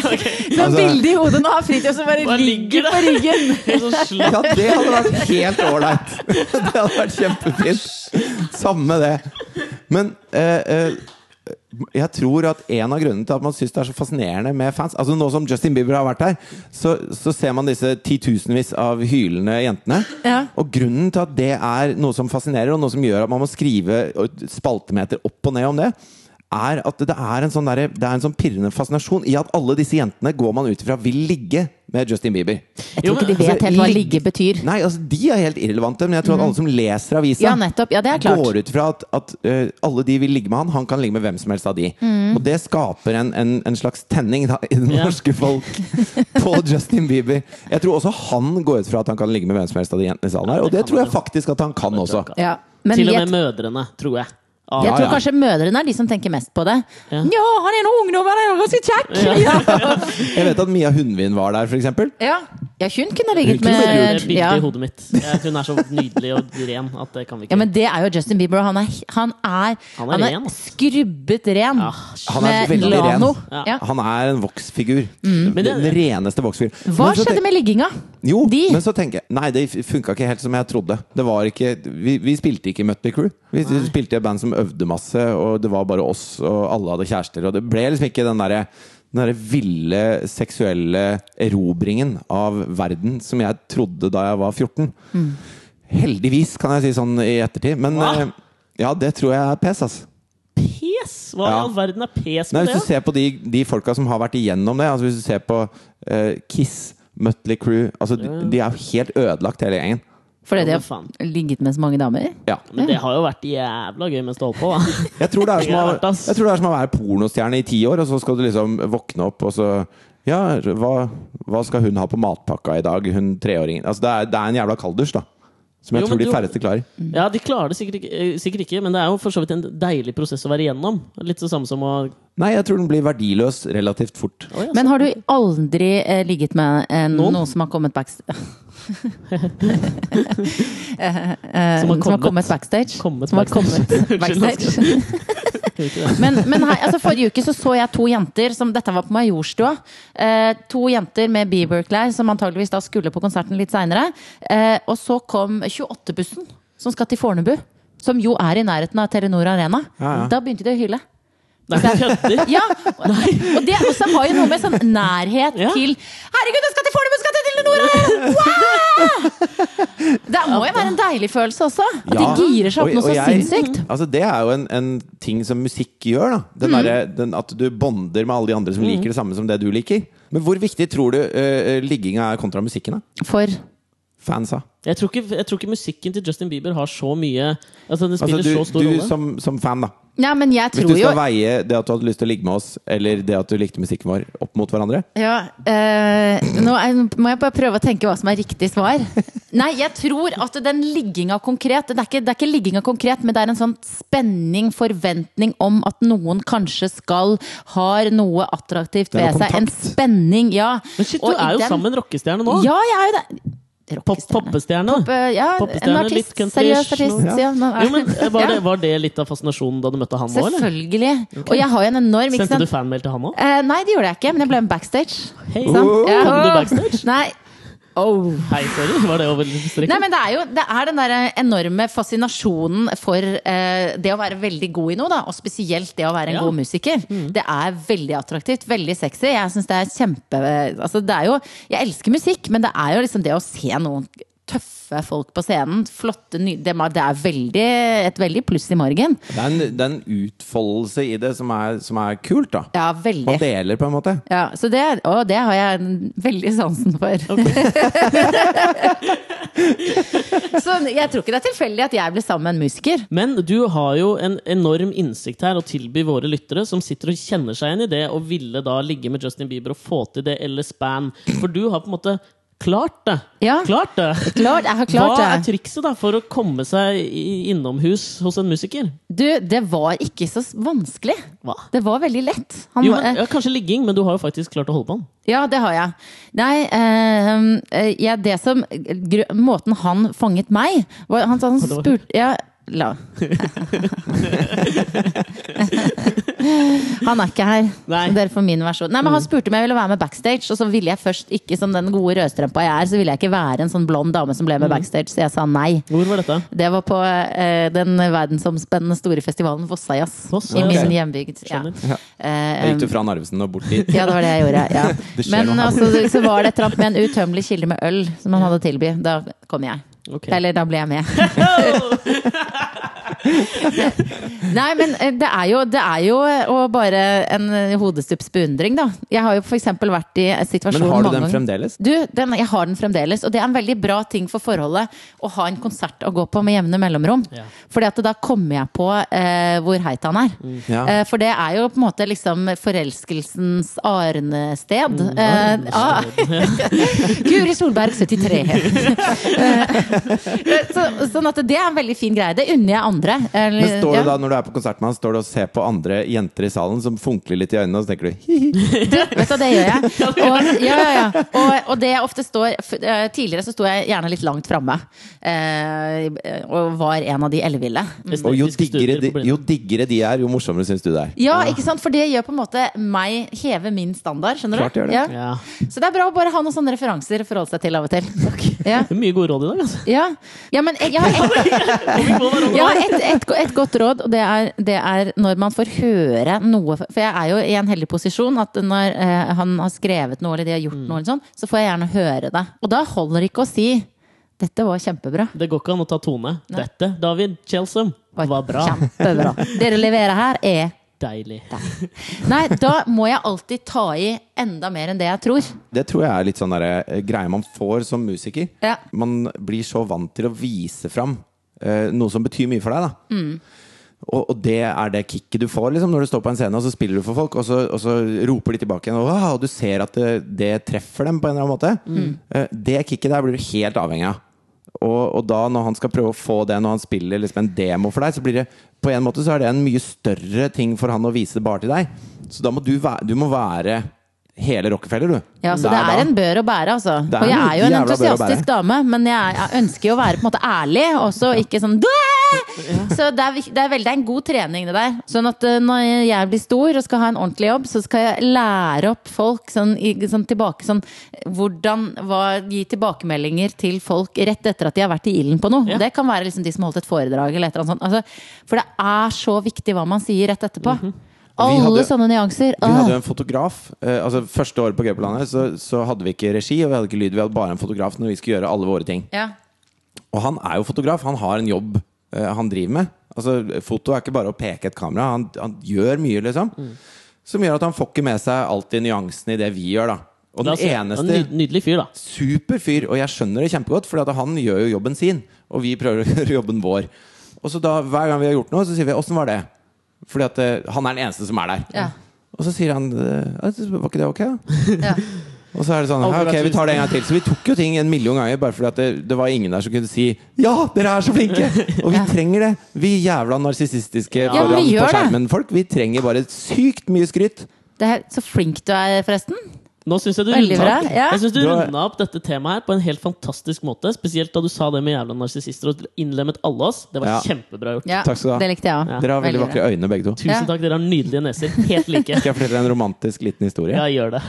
S1: Du har
S3: Altså-
S1: bilde i hodet nå, har fritid, og så bare
S2: Bare ligger
S1: ligger på ryggen!
S2: Helt sånn slapp.
S3: Ja, det hadde vært helt ålreit. Det hadde vært kjempefint. Samme det. Men eh, eh, jeg tror at en av grunnene til at man syns det er så fascinerende med fans Altså Nå som Justin Bieber har vært her, så, så ser man disse titusenvis av hylende jentene.
S1: Ja.
S3: Og grunnen til at det er noe som fascinerer, og noe som gjør at man må skrive spaltemeter opp og ned om det, er at det er en sånn, derre- det er en sånn pirrende fascinasjon i at alle disse jentene går man ut ifra vil ligge med Justin Bieber.
S1: Jeg tror ikke de
S3: Altså,
S1: vet helt hva
S3: ligg-
S1: ligge betyr.
S3: Nei, altså de er helt irrelevante, men jeg tror at alle som leser avisa,
S1: Ja, nettopp. Ja, det er klart.
S3: går ut fra at, at eh, alle de vil ligge med han. Han kan ligge med hvem som helst av de. Og det skaper en, en, en slags tenning da, i det
S2: Ja.
S3: norske folk på Justin Bieber. Jeg tror også han går ut fra at han kan ligge med hvem som helst av de jentene i salen her. Og
S2: det
S3: det
S2: kan
S3: tror jeg
S2: han.
S3: faktisk at han kan også.
S1: Ja. Men
S2: Til og
S1: jeg,
S2: med mødrene, tror jeg. Ah,
S1: jeg
S3: Ja,
S1: tror
S3: ja.
S1: kanskje mødrene er de som tenker mest på det.
S2: Ja.
S1: Ja, han er en ungdom, han er jo ganske kjekk! Ja.
S3: Jeg vet at Mia Hundvin var der, for eksempel.
S1: Ja. ja, hun kunne ligget
S3: Hun kunne
S1: med
S2: Det Eh, bildet
S1: Eh, ja.
S2: i hodet mitt. Jeg, hun er så nydelig og ren at det kan vi ikke.
S1: ja, men det er jo Justin Bieber. og Han er, han er,
S2: Han er
S1: han
S2: ren,
S1: er
S2: ass.
S1: skrubbet ren.
S2: Ja,
S3: Han
S1: med
S3: er veldig ren.
S1: Lano.
S2: Ja.
S1: Ja.
S3: Han er en voksfigur.
S2: Men det-
S3: Den reneste voksfiguren.
S1: Hva
S3: Men så
S1: skjedde
S3: tenk-
S1: med ligginga?
S3: Jo,
S1: De?
S3: men så tenker jeg Nei, det funka ikke helt som jeg trodde. Det var ikke, vi, vi spilte ikke Mutley Crew. Vi spilte i et band som øvde masse, og det var bare oss, og alle hadde kjærester. Og det ble liksom ikke den derre den der ville seksuelle erobringen av verden som jeg trodde da jeg var 14. Heldigvis, kan jeg si sånn i ettertid. Men
S2: Hva?
S3: eh, ja, det tror jeg er pes, altså.
S2: Pes! Hva i
S3: Ja.
S2: all verden er pes
S3: Nei,
S2: med
S3: hvis du
S2: det? da?
S3: ser på de, de folka som har vært igjennom det, altså hvis du ser på eh, Kiss, Mutley Crew altså, de, de er jo helt ødelagt, hele gjengen.
S1: Fordi de har
S2: Ja, men faen.
S1: ligget med så mange damer?
S3: Ja.
S2: Men det har jo vært jævla gøy mens det holdt på. Da.
S3: Jeg tror det er som å,
S2: Det er rart, ass.
S3: jeg tror det er som å være pornostjerne i ti år, og så skal du liksom våkne opp, og så Ja, hva, hva skal hun ha på matpakka i dag, hun treåringen? Altså, det er, det er en jævla kalddusj, da. Som jeg
S2: Jo, men
S3: tror de
S2: du-
S3: færreste klarer.
S2: Ja, De klarer det sikkert ikke, eh, sikkert ikke, men det er jo for så vidt en deilig prosess å være igjennom. Litt det samme som å
S3: Nei, jeg tror den blir verdiløs relativt fort.
S2: Å, ja,
S1: Men har du aldri eh, ligget med en,
S2: Noen?
S1: noen? som har kommet backstage?
S2: Som har
S1: eh, Som har
S2: kommet-
S1: kommet backstage?
S2: kommet
S1: som har
S2: backstage.
S1: kommet
S2: Unnskyld,
S1: backstage.
S2: skal vi ikke det?
S1: Men, men hei, altså forrige uke så, så jeg to jenter som Dette var på Majorstua. Eh, to jenter med Bieber-klær som antageligvis da skulle på konserten litt seinere. Eh, og så kom 28-bussen som skal til Fornebu. Som jo er i nærheten av Telenor Arena.
S3: Ja, ja.
S1: Da begynte de å hyle.
S2: Nei, du kødder!
S1: Ja, og, og det og så har jo noe med sånn nærhet
S2: Ja.
S1: til Herregud, jeg skal til Fornebu, jeg skal til Telenor Arena! Wow! Det må jo være en deilig følelse også. At de
S3: Ja.
S1: girer seg
S3: Og-
S1: opp noe
S3: og
S1: så
S3: jeg-
S1: sinnssykt.
S3: Altså, det er jo en, en ting som musikk gjør. Da. Den derre- den, at du bonder med alle de andre som liker det samme som det du liker. Men hvor viktig tror du eh, ligginga er kontra musikken? da?
S1: For
S3: Fansa.
S2: Jeg tror, ikke, jeg tror ikke musikken til Justin Bieber har så mye Altså, den
S3: Altså,
S2: spiller så
S3: du
S2: stor
S3: du
S2: rolle.
S3: som, som fan, da.
S1: Nei, men jeg
S3: Hvis
S1: tror
S3: du
S1: jo
S3: skal veie det at du hadde lyst til å ligge med oss, eller det at du likte musikken vår, opp mot hverandre
S1: Ja, eh, nå er, må jeg bare prøve å tenke hva som er riktig svar. Nei, jeg tror at den ligginga konkret Det er ikke, det er ikke ligginga konkret, men det er en sånn spenning, forventning om at noen kanskje skal Har noe attraktivt
S3: Det er
S1: ved
S3: noe
S1: seg. En
S3: kontakt.
S1: spenning, ja.
S2: Men shit,
S1: Og
S2: du
S1: i
S2: er jo
S1: den-
S2: sammen med en rockestjerne nå!
S1: Ja, jeg er jo det.
S2: Pop
S1: Rockestjerne.
S2: Poppestjerne.
S1: Pop, eh, ja, en
S2: Poppestjerne, litt
S1: artist.
S2: country-ish,
S1: Seriøs artist.
S2: noe.
S1: Ja. nå er-
S2: Jo, men var det,
S1: Ja,
S2: var det litt av fascinasjonen da du møtte han nå, eller?
S1: Selvfølgelig. Og jeg har jo en enorm ikke
S2: Sendte
S1: sant?
S2: du fanmail til han òg?
S1: Eh, nei, det gjorde jeg ikke, men jeg ble med backstage.
S2: Hei,
S1: Ikke sant? Ja.
S2: Kom du backstage?
S1: Nei. Oh.
S2: Hei, sorry. Var det over
S1: Nei,
S2: streken?
S1: men det er jo det er den der enorme fascinasjonen for eh, det å være veldig god i noe, da. Og spesielt det å være en
S2: Ja. Mm.
S1: god musiker. Det er veldig attraktivt, veldig sexy. Jeg synes det er kjempe altså, det er jo, Jeg elsker musikk, men det er jo liksom det å se noen tøffe folk på scenen. Flotte, ny, det, det er veldig, et veldig pluss i margen.
S3: Det er en, det er en utfoldelse i det som er, som er kult, da.
S1: Ja,
S3: Man
S1: veldig.
S3: deler, på en måte.
S1: Ja, så det, og det har jeg veldig sansen for. så jeg tror ikke det er tilfeldig at jeg ble sammen med en musiker.
S2: Men du har jo en enorm innsikt her å tilby våre lyttere, som sitter og kjenner seg igjen i det og ville da ligge med Justin Bieber og få til det, eller Span. For du har på en måte Klart det!
S1: Ja.
S2: Klart det!
S1: Klart, jeg har klart
S2: Hva er
S1: det.
S2: trikset da for å komme seg i- innomhus hos en musiker?
S1: Du, det var ikke så s- vanskelig.
S2: Hva?
S1: Det var veldig lett. Han,
S2: Jo,
S1: eh,
S2: men, ja, kanskje ligging, men du har jo faktisk klart å holde på den.
S1: Ja, det har jeg. Nei, eh, eh, ja, det som gru- Måten han fanget meg var, Han, han
S2: Ja, det var-
S1: spurte ja, La. Han er ikke her.
S2: Nei.
S1: Så dere får min versjon. Nei, men
S3: Mm.
S1: Han spurte om jeg ville være med backstage, og så ville jeg først ikke, som den gode rødstrømpa jeg er, så ville jeg ikke være en sånn blond dame som ble med
S3: Mm.
S1: backstage, så jeg sa nei.
S2: Hvor var dette?
S1: Det var på eh, den verdensomspennende store festivalen Vossajazz i
S2: Vossajazz,
S1: min
S2: ok.
S1: hjembygd. Ja.
S2: Skjønner.
S1: Eh,
S3: Ah, Jeg gikk du fra Narvesen og bort dit?
S1: ja, det var det jeg gjorde. Ja.
S3: Det skjer
S1: Men
S3: noe her.
S1: altså, så var det et eller annet med en utømmelig kilde med øl som han hadde å tilby. Da kom jeg.
S2: Ok.
S1: Eller da ble jeg med. Nei, men eh, det er jo, det er jo eh, å bare en eh, hodestups beundring, da. Jeg har jo f.eks. vært i en situasjon
S3: Men har du
S1: mange
S3: den
S1: ganger-
S3: fremdeles?
S1: du, den, jeg har den fremdeles, og det er en veldig bra ting for forholdet å ha en konsert å gå på med jevne mellomrom.
S2: Ja.
S1: Fordi at da kommer jeg på eh, hvor heit han er.
S3: Ja.
S1: Eh, for det er jo på en måte liksom forelskelsens arnested.
S3: Mm.
S1: eh, ah, Guri Solberg 73. Eh, så, sånn at det er en veldig fin greie. Det unner jeg andre. Eller-
S3: Men står
S1: ja.
S3: du da, når du er på konsert med han, står du og ser på andre jenter i salen som funkler litt i øynene, og så tenker du hi, hi.
S1: Du, vet du, det gjør jeg. Og, ja, ja, ja. Og, og det jeg ofte står f- eh, Tidligere så sto jeg gjerne litt langt framme. Eh, og var en av de elleville.
S3: Og jo
S2: Estetiske
S3: diggere,
S2: studier
S3: de,
S2: på blinde.
S3: jo diggere de er, jo morsommere syns du det er.
S1: Ja, ikke sant? For det gjør på en måte meg heve min standard. skjønner
S3: Klart
S1: du?
S3: det gjør det.
S1: Ja.
S2: Ja.
S1: Så det er bra å bare ha noen sånne referanser å forholde seg til av og til. Ja,
S2: Det er mye gode råd i dag, altså.
S1: ja. ja men jeg, jeg har et-
S2: Vi må være
S1: Jeg har et, et, go- et godt råd, og det er, det er når man får høre noe For jeg er jo i en heldig posisjon at når eh, han har skrevet noe, eller de har gjort
S2: Mm.
S1: noe, eller sånn, så får jeg gjerne høre det. Og da holder det ikke å si 'dette var kjempebra'.
S2: Det går ikke an å ta Tone. Dette, David Chelsum,
S1: Det
S2: var bra.
S1: Kjempebra. Det du leverer her, er
S2: Deilig.
S1: Nei, da må jeg alltid ta i enda mer enn det jeg tror.
S3: Det tror jeg er litt sånn derre, eh, greie man får som musiker.
S1: Ja.
S3: Man blir så vant til å vise fram eh, noe som betyr mye for deg. Da. Og, og det er det kicket du får liksom, når du står på en scene og så spiller du for folk, og så, og så roper de tilbake igjen, og, «Wow!» og du ser at det, det treffer dem på en eller annen måte.
S1: Mm.
S3: Eh, det kicket der blir du helt avhengig av. Og, og da når han skal prøve å få det når han spiller liksom en demo for deg, så blir det på en måte så er det en mye større ting for han å vise det bare til deg. Så da må du, væ- du må være hele Rockefeller, du.
S1: Ja, så
S3: Der
S1: det er
S3: da.
S1: en bør å bære, altså.
S3: Det er
S1: Og jeg
S3: en
S1: er jo en
S3: jævla bør å
S1: entusiastisk dame, men jeg, jeg ønsker jo å være på en måte ærlig, og så ikke sånn «Dæ!» Så det er, vik- det er veldig det er en god trening, det der. Sånn at eh, når jeg blir stor og skal ha en ordentlig jobb, så skal jeg lære opp folk sånn, i, sånn tilbake sånn Hvordan hva, gi tilbakemeldinger til folk rett etter at de har vært i ilden på noe.
S2: Ja.
S1: Det kan være liksom de som holdt et foredrag eller et eller annet sånt. Altså, for det er så viktig hva man sier rett etterpå.
S3: Vi
S1: Alle
S3: hadde-
S1: sånne nyanser.
S3: Vi hadde jo
S1: Åh.
S3: en fotograf. Eh, altså Første året på Gaupelandet så, så hadde vi ikke regi og vi hadde ikke lyd. Vi hadde bare en fotograf når vi skulle gjøre alle våre ting.
S1: Ja.
S3: Og han er jo fotograf. Han har en jobb eh, han driver med. Altså Foto er ikke bare å peke et kamera. Han, han gjør mye, liksom. Som gjør at han får ikke med seg alltid nyansene i det vi gjør. da Og
S2: La oss
S3: den
S2: se. En
S3: eneste
S2: nyd- Nydelig fyr, da.
S3: super fyr, og jeg skjønner det kjempegodt, for han gjør jo jobben sin, og vi prøver å gjøre jobben vår. Og så da, hver gang vi har gjort noe, så sier vi 'åssen var det?' Fordi at eh, han er den eneste som er der.
S1: Ja.
S3: Og så sier han eh, «Ja, det- 'var ikke det ok', da?
S1: Ja.
S3: Og så er det sånn
S2: Aldri
S3: «Ja, Ok,
S2: vært
S3: vi tar det en gang til. Så vi tok jo ting en million ganger bare fordi at det, det var ingen der som kunne si 'ja, dere er så flinke'! Og vi trenger det. Vi jævla narsissistiske
S1: Ja, men
S3: foran
S1: vi
S3: på
S1: gjør det.
S3: skjermen-folk. Vi trenger bare sykt mye skryt.
S1: Det er, så flink du er, forresten.
S2: Nå syns jeg du
S1: Veldig
S2: runda
S1: bra,
S2: opp.
S1: ja.
S2: Jeg synes du
S3: Du har-
S2: rundet opp dette temaet her på en helt fantastisk måte. Spesielt da du sa det med jævla narsissister og innlemmet alle oss. Det var
S3: Ja.
S2: kjempebra gjort.
S1: Ja,
S3: Takk skal du ha.
S1: Det likte jeg òg.
S2: Ja.
S3: Dere har veldig vakre øyne, begge to. Skal
S1: Ja.
S2: Tusen takk, dere har nydelige neser. Helt like.
S3: jeg fortelle en romantisk liten historie?
S2: Ja, gjør det.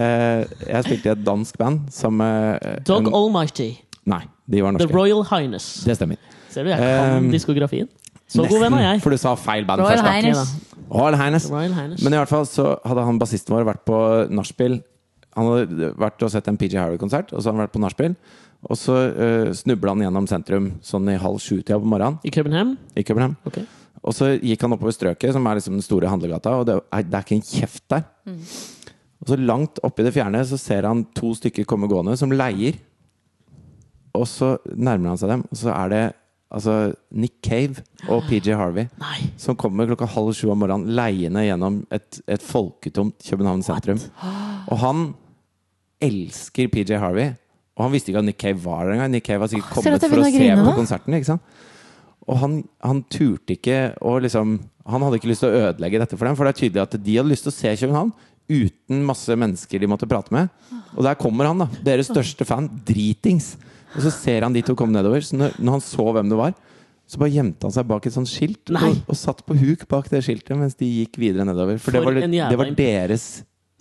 S3: Eh, jeg spilte i et dansk band som eh,
S2: Dog
S3: en-
S2: Almighty.
S3: Nei, de var
S2: The
S3: norske.
S2: Royal Highness.
S3: Det stemmer.
S2: Ser du, jeg kan
S3: Um,
S2: diskografien. Så god venn er jeg.
S3: for du sa feil band
S1: Royal
S3: først. da.
S1: Highness.
S3: Royal Highness.
S2: Royal Highness.
S3: Men i hvert fall så hadde han bassisten vår vært på nachspiel. Han hadde vært og sett en PG Harry-konsert, og så hadde han vært på nachspiel. Og så uh, snubla han gjennom sentrum sånn i halv sju-tida på morgenen
S2: I København?
S3: i København.
S2: Ok.
S3: Og så gikk han oppover Strøket, som er liksom den store handlegata, og det er, det er ikke en kjeft der. Og så langt oppe i det fjerne så ser han to stykker komme gående som leier. Og så nærmer han seg dem, og så er det altså Nick Cave og PJ Harvey
S2: Nei.
S3: som kommer klokka halv sju om morgenen leiende gjennom et, et folketomt København sentrum. Og han elsker PJ Harvey. Og han visste ikke at Nick Cave var der engang. Nick Cave var sikkert
S1: Ser du at
S3: kommet
S1: jeg
S3: for å
S1: begynner å
S3: se
S1: grine
S3: på
S1: nå?
S3: konserten. ikke sant? Og han, han turte ikke å liksom Han hadde ikke lyst til å ødelegge dette for dem, for det er tydelig at de hadde lyst til å se København uten masse mennesker de måtte prate med. Og der kommer han, da. Deres største fan. Dritings. Og så ser han de to komme nedover. Så når, når han så hvem det var, så bare gjemte han seg bak et sånt skilt
S2: Nei.
S3: og, og satt på huk bak det skiltet mens de gikk videre nedover. For, det,
S2: For
S3: var,
S2: en jævla
S3: det var
S2: imp-
S3: deres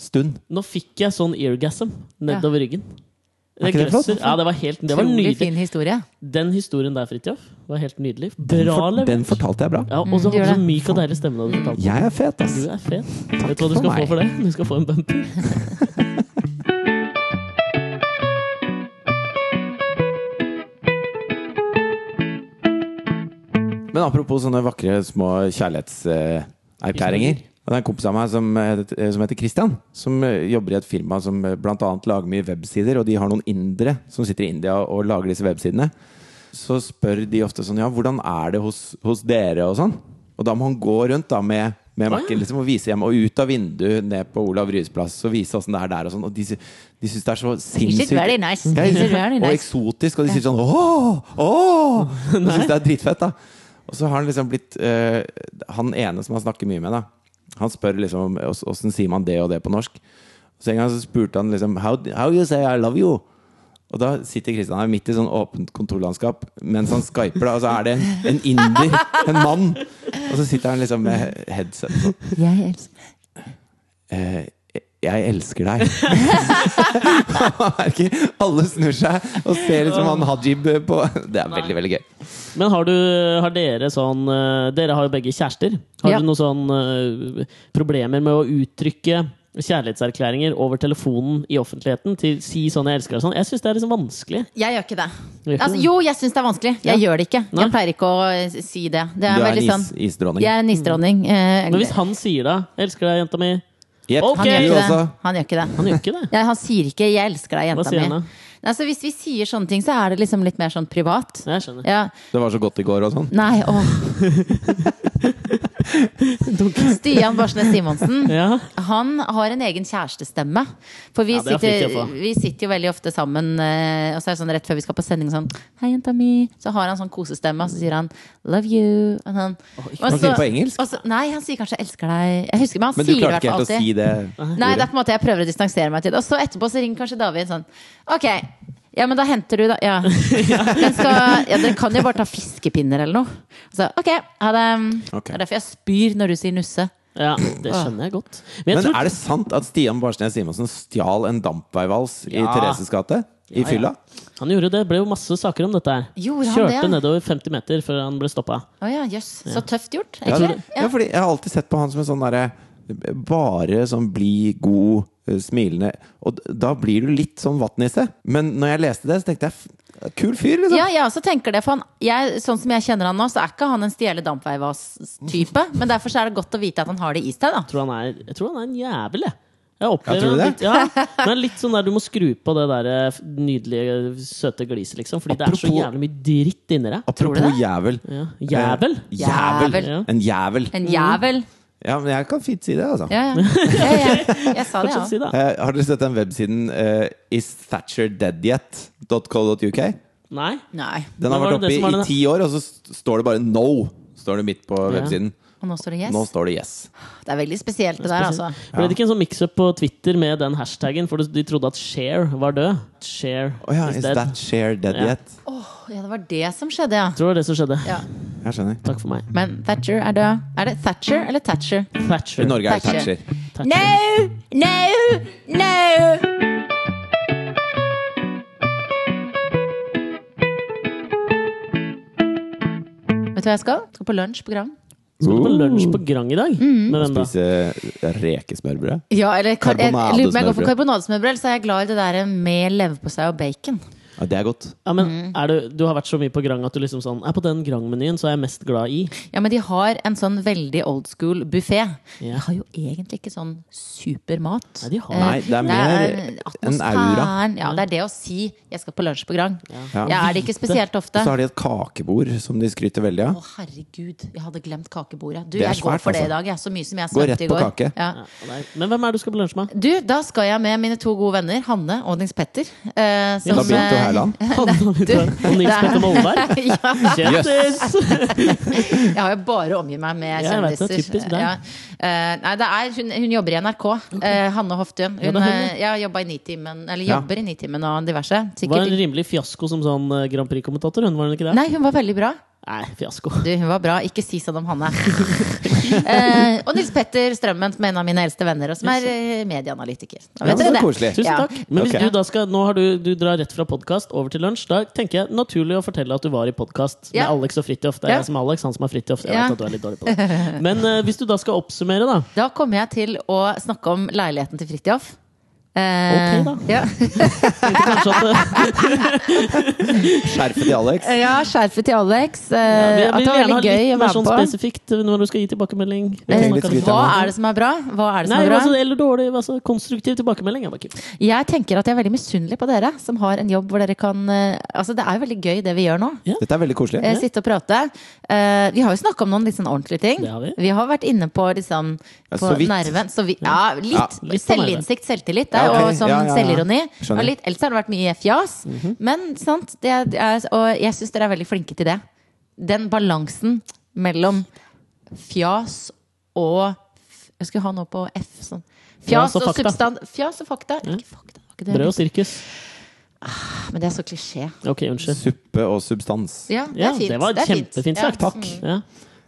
S3: stund.
S2: Nå fikk jeg sånn eargasm nedover ryggen.
S3: ikke det flott?
S2: grøsser. Ja, det var helt det var
S1: Utrolig
S2: nydelig.
S1: fin historie.
S2: Den historien der, Fridtjof, var helt nydelig. Bra
S3: For, den
S2: levert.
S3: fortalte jeg bra.
S2: Ja, og så
S1: Mm, gjør
S2: hadde du
S1: det.
S2: så myk og deilig stemme da du fortalte.
S3: Jeg er fet, ass.
S2: Du er fet. Vet du hva
S3: for
S2: du skal
S3: meg.
S2: få for det? Du skal få en bumper.
S3: Men apropos sånne vakre små kjærlighetserklæringer. Det er en kompis av meg som, eh, som heter Christian, som eh, jobber i et firma som eh, blant annet lager mye websider, og de har noen indere som sitter i India og lager disse websidene. Så spør de ofte sånn Ja, hvordan er det hos, hos dere? og sånn. Og da må han gå rundt da med, med Mac-en liksom, og vise hjem, og ut av vinduet ned på Olav Ryes plass og vise åssen det er der og sånn. Og de, sy- de syns det er så
S1: Is it
S3: sinnssykt
S1: very nice?
S3: ja,
S1: Is it very
S3: Og
S1: nice?
S3: eksotisk, og de sier sånn åh, åh! Og synes det er dritfett, da. Og så har han liksom blitt eh, Han ene som han snakker mye med, da. Han spør liksom "Ås- åssen sier man det og det på norsk. Så en gang så spurte han liksom How, how you say I love you? Og da sitter Kristian her midt i sånn åpent kontorlandskap mens han skyper, da. Og så er det en, en inder, en mann. Og så sitter han liksom med headset på.
S1: Jeg elsker
S3: Eh, jeg elsker deg. Han merker Alle snur seg og ser liksom han Hajib på Det er veldig, veldig gøy.
S2: Men har, du, har dere sånn eh, Dere har jo begge kjærester. Har
S1: Ja.
S2: du noen sånn eh, problemer med å uttrykke kjærlighetserklæringer over telefonen i offentligheten? Til si sånn 'jeg elsker deg' og sånn? Jeg syns det er liksom vanskelig.
S1: Jeg gjør ikke det.
S2: Gjør ikke
S1: Altså,
S2: det?
S1: jo, jeg syns det er vanskelig. Jeg
S2: Ja.
S1: gjør det ikke.
S2: Nei.
S1: Jeg pleier ikke å eh, si det. Det
S3: Du
S1: er
S3: er
S1: veldig
S3: en
S1: sånn
S3: is, isdronning.
S1: Jeg er en isdronning. eh,
S2: Men hvis han sier da 'elsker deg, jenta mi'
S3: Jepp,
S2: Ok,
S1: han, gjør
S3: du
S1: ikke det.
S3: også.
S1: han gjør ikke det.
S2: Han gjør ikke det.
S1: Ja, han sier ikke 'jeg elsker deg,
S2: Hva
S1: jenta
S2: sier han
S1: mi'.
S2: da?
S1: Nei, så hvis vi sier sånne ting, så er det liksom litt mer sånn privat.
S2: Jeg skjønner.
S1: Ja,
S3: Det var så godt i går og sånn.
S1: Nei, åh. Stian Barsnes Simonsen.
S2: Ja.
S1: Han har en egen kjærestestemme. For vi,
S2: Ja, det er flink å
S1: sitter,
S2: få.
S1: vi sitter jo veldig ofte sammen, eh, og så er det sånn rett før vi skal på sending sånn Hei, jenta mi. Så har han sånn kosestemme, og så sier han love you. Og sånn.
S2: ikke
S1: Og
S3: han sier det på engelsk?
S1: og så- nei, han sier kanskje 'elsker deg'. Jeg husker, men han
S3: Men du
S1: sier det i
S3: klarte
S1: hvert
S3: ikke
S1: fall
S3: helt å
S1: alltid.
S3: si det.
S1: Nei, det
S3: ordet.
S1: er på en måte jeg prøver å distansere meg til det. Og så etterpå så ringer kanskje David sånn Ok, ja, men da henter du da Ja, men skal, ja dere kan jo bare ta fiskepinner eller noe. Og Så ok, ha det.
S3: Ok.
S1: Det er derfor jeg spyr når du sier nusse.
S2: Ja, det skjønner jeg godt. Men jeg
S3: Ah. Men
S2: tror
S3: er det sant at Stian Barstnes Simonsen stjal en dampveivals i
S2: Ja.
S3: Thereses gate? I
S2: Ja, ja.
S3: fylla?
S2: han gjorde det. Det ble jo masse saker om dette her.
S1: Gjorde han
S2: Kjørte
S1: det?
S2: nedover 50 meter før han ble stoppa.
S1: Å ja, jøss. Så tøft gjort.
S3: Ja,
S1: Egentlig.
S3: ja,
S1: Ja.
S3: fordi jeg har alltid sett på han som en sånn derre Bare sånn bli god, eh, smilende Og d- da blir du litt sånn vattnisse. Men når jeg leste det, så tenkte jeg f- Kul fyr, liksom.
S1: Ja, jeg også tenker det, for han, jeg, sånn som jeg kjenner han nå, så er ikke han en stjele dampveivas-type. Men derfor så er det godt å vite at han har det i seg, da.
S2: tror han er, jeg tror han er en jævel, jeg. Jeg
S3: Ja,
S2: opplever
S3: tror du
S2: han
S3: det?
S2: litt, ja, men litt sånn der du må skru på det der eh, nydelige, søte gliset, liksom. Fordi det er så
S3: Apropos-
S2: jævlig mye dritt inni deg.
S1: Tror du
S3: Apropos
S1: det?
S3: jævel.
S2: Ja. Jævel?
S3: Eh, jævel.
S1: Jævel.
S3: En jævel.
S1: En jævel.
S3: Ja, men jeg kan fint si det, altså.
S1: Ja, ja. ja, ja. Jeg sa det,
S2: Fortsett å
S1: ja.
S2: si det.
S3: Eh, har dere sett den websiden uh, isthatcherdeadyet.co.uk?
S2: Nei.
S1: Nei.
S3: Den har
S2: Hva var
S3: vært
S2: det som
S3: oppe
S2: var
S3: i
S2: det da?
S3: ti år, og så st- står det bare 'no' Står det midt på websiden.
S1: Og nå står det
S3: Nå
S1: yes.
S3: står det 'yes'.
S1: Det er veldig spesielt, det der, altså.
S2: Ble det ikke en sånn mix-up på Twitter med den hashtaggen? For de trodde at Share var død. Share
S3: Å ja,
S2: is
S3: is
S2: dead.
S3: that share dead
S2: Ja.
S3: yet?
S1: Ja, det var det som skjedde, ja.
S2: Tror det var det som skjedde.
S1: ja.
S3: Jeg skjønner.
S2: Takk for meg.
S1: Men Thatcher er død. Er det Thatcher eller Thatcher?
S2: Thatcher.
S3: I Norge er det
S1: Thatcher.
S3: Thatcher.
S2: Thatcher.
S1: No! No! No! Vet du hva jeg skal? Skal på lunsj på Gran.
S2: Skal du på lunsj på Grang i dag?
S3: Mm.
S2: Med hvem da?
S3: Spise rekesmørbrød.
S1: Ja, eller kan, jeg
S3: Karbonadesmørbrød.
S1: lurer på om jeg går for karbonadesmørbrød, eller så er jeg glad i det der med leverpostei og bacon.
S3: Ja, det er godt.
S2: Ja, men
S1: Mm.
S2: er du, du har vært så mye på Grang at du liksom sånn Er på den Grang-menyen så er jeg mest glad i.
S1: Ja, men de har en sånn veldig old school buffé.
S2: Ja.
S1: De har jo egentlig ikke sånn supermat.
S2: Nei, de
S1: Eh,
S2: har
S3: Nei, det er mer en aura.
S1: atmosfæren. Ja, det er det å si 'jeg skal på lunsj på Grang'.
S3: Ja.
S1: Jeg er det ikke spesielt ofte.
S3: Så har de et kakebord som de skryter veldig
S1: Å,
S3: av.
S1: herregud, jeg hadde glemt kakebordet. Du,
S3: Det er
S1: jeg går
S3: svært,
S1: for det
S3: altså.
S1: i dag, jeg. Så mye som jeg
S3: Går
S1: svømte
S3: rett
S1: i
S3: på
S1: går.
S3: kake.
S1: Ja.
S2: Ja, nei. Men hvem er det du skal på lunsj med?
S1: Du, da skal jeg med mine to gode venner, Hanne og Nils Petter. eh, som,
S3: Da begynte jo Herland.
S2: Hanne Anita og Nils Petter Molberg?
S1: eh, ja,
S2: Kjendis!
S1: jeg har jo bare omgitt meg med
S2: Ja, jeg vet det,
S1: kjendiser.
S2: typisk deg.
S1: Ja. Eh, nei, det er, hun, hun jobber i NRK. eh, Hanne Hoftun.
S2: Ja,
S1: Hun
S2: det er hun,
S1: eh, ja, jobba i Nitimen, eller
S3: Ja.
S1: jobber i Nitimen og diverse.
S2: Var en
S1: Sikkert.
S2: rimelig fiasko som sånn eh, Grand Prix-kommentator, hun, var hun ikke det?
S1: Nei, hun var veldig bra.
S2: Nei, fiasko.
S1: Du, hun var bra. Ikke si sånn om Hanne. Eh, og Nils Petter Strømmen, som er en av mine eldste venner, og som er eh, medieanalytiker. Da vet
S3: Ja,
S1: dere
S3: men det er
S1: det.
S3: koselig.
S2: Tusen
S1: Ja.
S2: takk. Men hvis
S3: Ok.
S2: du da skal, nå har du, du drar rett fra podkast over til lunsj. Da tenker jeg naturlig å fortelle at du var i podkast med
S1: Ja.
S2: Alex og Fridtjof. Det er
S1: Ja.
S2: jeg som er Alex, han som er Fridtjof. Jeg
S1: Ja.
S2: vet at du er litt dårlig på det. Men eh, hvis du da skal oppsummere, da.
S1: Da kommer jeg til å snakke om leiligheten til Fridtjof. Eh,
S2: Ok, da.
S1: Ja.
S2: Tenkte kanskje at eh,
S3: Skjerfet til Alex.
S1: ja, skjerfet til Alex. eh,
S2: ja,
S1: at det var
S2: vi vil gjerne ha
S1: veldig gøy å
S2: litt mer
S1: være
S2: sånn
S1: på.
S2: spesifikt eh, når du skal gi tilbakemelding.
S3: trenger litt skryt
S1: Hva
S3: av meg.
S1: er det som er bra? Hva er det som
S2: Nei,
S1: er bra?
S2: altså, eller dårlig. Altså, konstruktiv tilbakemelding. Jeg bare ikke
S1: Jeg tenker at jeg er veldig misunnelig på dere som har en jobb hvor dere kan eh, Altså, det er jo veldig gøy det vi gjør nå.
S3: Dette er veldig koselig.
S1: Eh, Sitte og prate. Eh, vi har jo snakka om noen litt sånn ordentlige ting.
S2: Det har vi.
S1: har vært inne på liksom
S3: Ja,
S1: på
S3: så vidt.
S1: nerven. Så vi, ja, litt,
S2: litt på nerven.
S1: selvinnsikt, selvtillit der,
S3: Ja, ok.
S1: og sånn
S3: Ja, ja, ja.
S1: selvironi.
S3: Skjønner. Mhm.
S1: Og litt, ellers har det vært mye fjas. Men sant, det er, det er, og jeg syns dere er veldig flinke til det. Den balansen mellom fjas og f- Jeg skulle ha noe på F. Sånn. Fjas,
S2: Fjas og
S1: og
S2: fakta.
S1: substan... Fjas og fakta. Ikke fakta, det var ikke det.
S2: Brød og sirkus.
S1: Men det er så klisjé.
S2: Ok, unnskyld.
S3: Suppe og substans.
S1: Ja, det
S2: Ja,
S1: er fint.
S2: det var
S1: er fint.
S2: kjempefint
S1: Ja. Mm.
S2: sagt. Takk. Ja.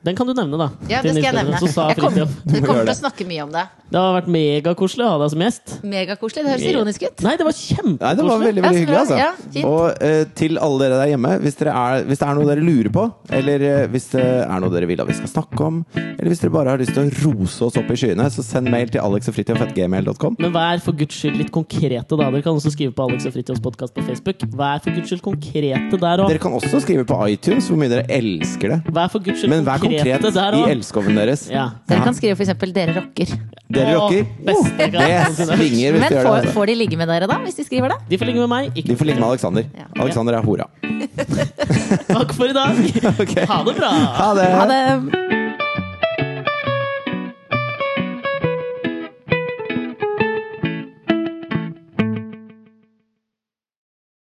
S2: Den kan du nevne, da.
S1: Ja,
S2: til
S1: det skal jeg
S2: Nils Petter.
S1: nevne.
S2: Så sa
S1: Jeg kom-
S2: Fridtjof.
S1: Du
S3: må
S1: kommer til
S3: gjøre
S1: å
S3: det.
S1: snakke mye om det.
S2: Det har vært megakoselig å ha deg som gjest.
S1: Megakoselig. Det høres ironisk ut.
S2: Nei, det var
S3: Nei, det var
S2: kjempekoselig.
S3: veldig,
S1: Ja,
S3: veldig
S1: så
S3: hyggelig,
S1: bra.
S3: altså.
S1: Ja, fint.
S3: og eh, til alle dere der hjemme, hvis, dere er, hvis det er noe dere lurer på, eller eh, hvis det er noe dere vil at vi skal snakke om, eller hvis dere bare har lyst til å rose oss opp i skyene, så send mail til alexogfritjof.gmail.com.
S2: Men vær for guds skyld litt konkrete, da. Dere kan også skrive på Alex og Fritjofs podkast på Facebook. Vær for guds skyld konkrete der òg.
S3: Dere kan også skrive på iTunes hvor mye dere elsker det.
S2: Vær for guds skyld
S3: Men vær konkret
S2: konkrete der
S3: i
S2: òg.
S3: elskoven deres.
S2: Ja.
S1: Dere kan skrive for eksempel 'dere rocker'.
S3: Dere
S2: Åh,
S3: rocker.
S2: beste
S3: Oh,
S2: gang.
S3: det svinger hvis
S1: Men
S3: du gjør det.
S1: får,
S3: Altså.
S1: får de ligge med dere da, hvis de skriver det?
S2: De får ligge med meg. Ikke
S3: De får ligge med Alexander.
S1: Ja.
S3: Alexander er hora.
S2: Takk for i dag. Ha det bra.
S3: Ha det!
S1: Ha det!